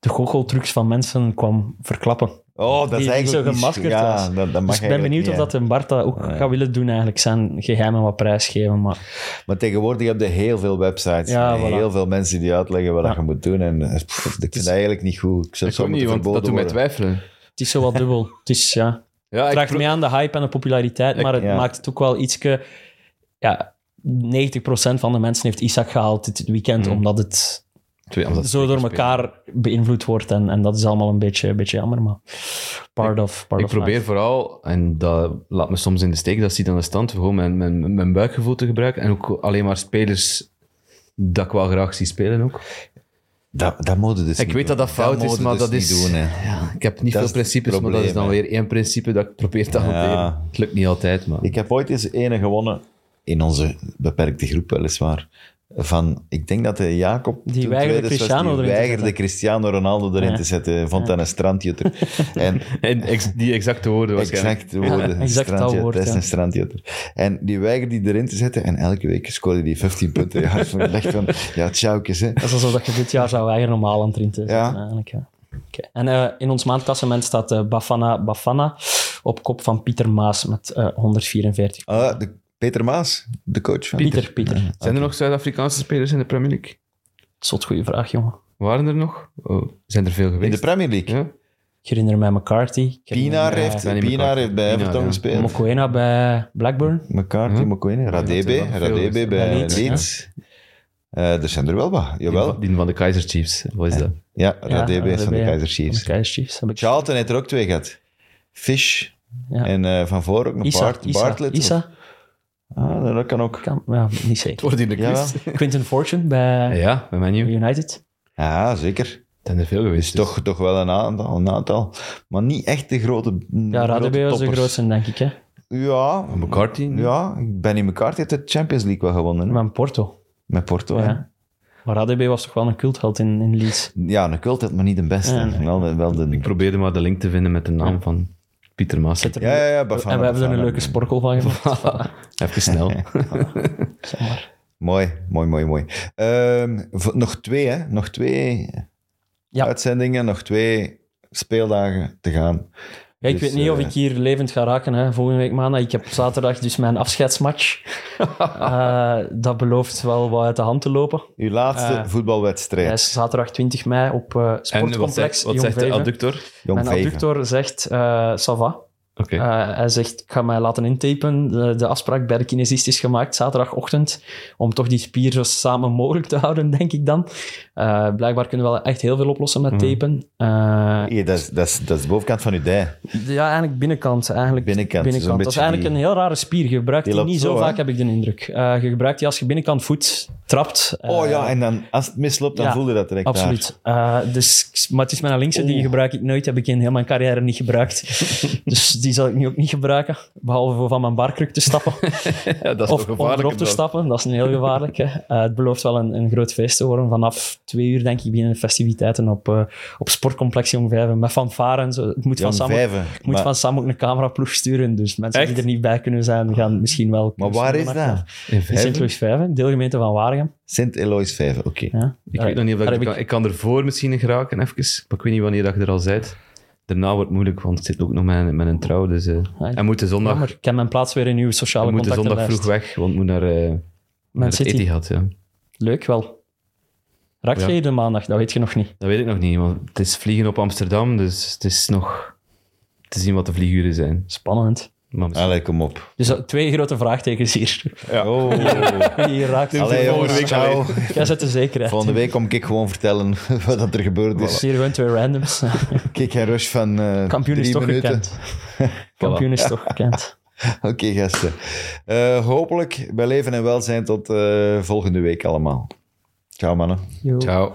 C: de goocheltrucs van mensen kwam verklappen.
B: Oh, dat
C: Die-
B: is
C: die
B: eigenlijk
C: zo
B: niet-
C: gemaskerd
B: ja, Dat, dat
C: was.
B: mag
C: dus ik ben
B: eigenlijk
C: benieuwd
B: niet,
C: of
B: hè. Ah,
C: dat een Bart dat ook gaat willen doen, eigenlijk zijn geheimen wat prijsgeven. Maar
B: Maar tegenwoordig heb je heel veel websites.
C: Ja,
B: en
C: voilà.
B: heel veel mensen die uitleggen wat
C: Ja.
B: je moet doen. En eh, pff, ik vind dat eigenlijk niet goed. Ik zou het
D: Ik
B: zo
D: ook niet,
B: moeten
D: want dat
B: verboden
D: doet mij
B: worden.
D: twijfelen.
C: het is zo wat dubbel. het is, ja,
D: Ja,
C: het
D: ik,
C: draagt
D: pro-
C: mee aan de hype en de populariteit, maar het
B: ja.
C: maakt het ook wel ietske... Ja, 90% van de mensen heeft Isaac gehaald dit weekend,
B: Mm.
C: omdat het
D: Twee, omdat-
C: zo door elkaar beïnvloed wordt. En, en dat is allemaal een beetje, een beetje jammer, maar part of part
D: Ik
C: of
D: probeer
C: life.
D: vooral, en dat laat me soms in de steek, dat ziet aan de stand, gewoon mijn, mijn, mijn buikgevoel te gebruiken. En ook alleen maar spelers dat ik wel graag zie spelen ook.
B: Dat, dat moet je dus
D: Ik
B: niet
D: weet dat
B: doen.
D: dat fout is,
B: moet je
D: maar
B: dus
D: dat
B: niet
D: is...
B: Doen, hè.
D: ja, ik heb niet
B: Dat is
D: veel
B: het
D: principes, maar dat
B: probleem,
D: is dan
B: hè.
D: weer één principe dat ik probeer te hanteren.
B: Ja.
D: Het lukt niet altijd, maar...
B: Ik heb ooit eens ene gewonnen, in onze beperkte groep weliswaar, van, ik denk dat de Jacob...
C: Die
B: toen
C: weigerde
B: tweede was,
C: Cristiano
B: die
C: erin te
B: weigerde
C: zetten.
B: Cristiano Ronaldo erin
C: Ja.
B: te zetten, vond dat een strandjutter. en
D: En ex- die exacte woorden waarschijnlijk.
B: exact de woorden,
C: exact dat
B: strandjutter,
C: woord,
B: dat is
C: ja.
B: een strandjutter. En die weigerde die erin te zetten en elke week scoorde die 15 punten. Ja, ik vond het echt van, ja, tjaukes, hè.
C: Dat is alsof dat je dit jaar zou eigen normaal aan het erin te zetten,
B: Ja.
C: eigenlijk. Ja. Oké. En eh, in ons maandklassement staat eh, Bafana Bafana op kop van Pieter Maas met eh, 144.
B: Ah, de, Peter Maas, de coach van...
C: Pieter, Pieter.
D: Zijn er nog Zuid-Afrikaanse spelers in de Premier League?
C: Zot goede vraag, jongen.
D: Waren er nog? Oh, zijn er veel
B: In de
D: geweest?
B: Premier League.
D: ja?
C: Ik herinner mij McCarthy. Ik herinner
B: Pienaar
C: mij
B: heeft,
D: Danny
B: Pienaar
D: McCarthy.
B: heeft bij
D: Pienaar,
B: Everton
D: ja.
B: gespeeld.
C: Mokoena bij Blackburn.
B: McCarthy,
C: Hm?
D: Huh?
B: McQueen, Radebe,
D: dat is wel
B: Radebe
D: veel,
B: bij
C: hè?
B: Leeds.
C: Leeds, ja.
B: Eh, er zijn er wel wat,
D: Die
B: jawel.
D: van- Die van de Kaiser Chiefs, wat is dat?
B: Ja, Radebe is van de
C: Radebe, ja.
B: Kaizer
C: Van de
B: Chiefs.
C: Kaizer Chiefs. Heb ik...
B: Charlton heeft er ook twee gehad. Fish
C: Ja.
B: en eh, van voor ook nog
C: Isa,
B: Bart,
C: Isa,
B: Bartlett.
C: Isa?
B: Ah, dat kan ook.
C: Kan, ja, niet zeker.
D: Wordt in de
B: Jawel.
D: quiz. Ah,
C: Quinton Fortune bij
D: Ja, bij mij nieuw.
C: United. Dus-
B: Ja, zeker.
D: zijn er veel geweest. dus.
B: is toch, toch wel een aantal, een aantal. Maar niet echt de grote.
C: Ja, Radebe
B: grote
C: was de
B: toppers.
C: grootste, denk ik. Hè.
B: Ja,
D: McCarthy?
B: ja. Benny McCarthy heeft de Champions League wel gewonnen. hè?
C: Maar in Porto.
B: Met Porto. hè.
C: Ja. Maar Radebe was toch wel een cultheld in, in Leeds.
B: Ja, een cult het, maar niet de beste.
C: Ja, nee.
B: Wel, de- wel de...
D: Ik probeerde maar de link te vinden met de naam van Pieter Maas.
C: Zit er
B: Ja, ja, ja. Bafana,
C: en we hebben er
B: Bafana.
C: een leuke sporkel van gemaakt.
D: Even snel.
C: Zeg maar.
B: Mooi, mooi, mooi, mooi. Ehm, v- nog twee, hè? Nog twee
C: Ja.
B: uitzendingen, nog twee speeldagen te gaan.
C: Ja, ik
B: Dus,
C: weet niet of
B: eh,
C: ik hier levend ga raken hè, volgende week maandag. Ik heb zaterdag dus mijn afscheidsmatch. Eh, dat belooft wel wat uit de hand te lopen.
B: Uw laatste
C: Eh,
B: voetbalwedstrijd.
C: Hij is zaterdag 20 mei op eh
D: En wat
C: sportcomplex
D: zegt, wat
C: Jong
D: zegt de
C: Vijven.
D: adductor?
B: Jong
C: Mijn
B: Vijven.
C: adductor zegt, eh ça va.
D: Oké.
C: Eh, hij zegt, ik ga mij laten intapen. De, de afspraak bij de kinesist is gemaakt zaterdagochtend. Om toch die spier zo samen mogelijk te houden, denk ik dan. Eh, blijkbaar kunnen we wel echt heel veel oplossen met
B: Mhm.
C: tapen. Eh,
B: Hier, dat, is, dat, is, dat is de bovenkant van uw dij.
C: ja, eigenlijk binnenkant. Eigenlijk
B: Binnenkant, zo'n
C: Dat is
B: beetje
C: eigenlijk
B: die-
C: een heel rare spier. Je gebruikt
B: Die
C: die,
B: loopt
C: niet zo
B: zo, hè?
C: vaak, heb ik de indruk. Eh, je gebruikt die als je binnenkant voet trapt. Eh,
B: oh ja, en dan, als het misloopt, dan
C: ja,
B: voel je dat direct
C: Absoluut. Eh, dus, maar het is mijn linkse, die gebruik ik nooit. Heb ik in heel mijn carrière niet gebruikt. dus die zal ik nu ook niet gebruiken. Behalve voor van mijn barkruk te stappen.
D: Ja, dat is
C: of
D: toch
C: om
D: gevaarlijk.
C: erop te stappen. Dat is een heel gevaarlijk. hè. Eh, het belooft wel een, een groot feest te worden. Vanaf twee uur, denk ik, beginnen de festiviteiten op, eh, op Sportcomplex Jong Vijven. Met fanfare en zo. Het moet
B: daar.
C: van
B: Jong
C: samen
B: Vijven.
C: ik moet
B: maar,
C: van Sam ook een cameraploeg sturen, dus mensen
D: Echt?
C: die er niet bij kunnen zijn, gaan misschien wel...
B: maar waar is dat?
D: In
C: In
D: Vijven?
C: Sint-Louis 5, deelgemeente van Waregem.
B: Sint Elois Vijven, oké.
C: Ja.
D: Ik weet nog niet of dat
C: Daar
D: ik,
C: heb
D: kan, ik kan ervoor misschien geraken, even. Maar ik weet niet wanneer dat je er al bent. Daarna wordt het moeilijk, want het zit ook nog met, met een trouw. Dus, eh
C: Ah,
D: hij moet de zondag,
C: Jammer, ik heb mijn plaats weer in uw
D: hij
C: sociale
D: moet de zondag
C: contactenlijst.
D: vroeg weg, want moet naar, eh naar
C: Man
D: het
C: City,
D: Etihad. Ja.
C: leuk wel. Raakt
D: Ja.
C: jij de maandag? Dat weet je nog niet.
D: Dat weet ik nog niet, want het is vliegen op Amsterdam, dus het is nog te zien wat de vlieguren zijn.
C: Spannend.
D: Maar misschien-
B: Allee, kom op.
C: Dus dat- twee grote vraagtekens hier.
B: Oh.
C: Hier raakt
B: Allee,
C: Volgende
B: jongens,
C: week-
B: ciao.
C: Jij zet de zekerheid.
B: Volgende week kom ik gewoon vertellen wat er gebeurd
C: Dus
B: is.
C: hier gewoon twee randoms.
B: Kijk, een rush van eh
C: Kampioen is
B: drie
C: toch
B: minuten.
C: gekend. Kampioen is toch gekend.
B: Oké, gasten. Eh, hopelijk bij leven en welzijn tot eh, volgende week allemaal. Ciao, mannen.
C: Yo.
D: Ciao.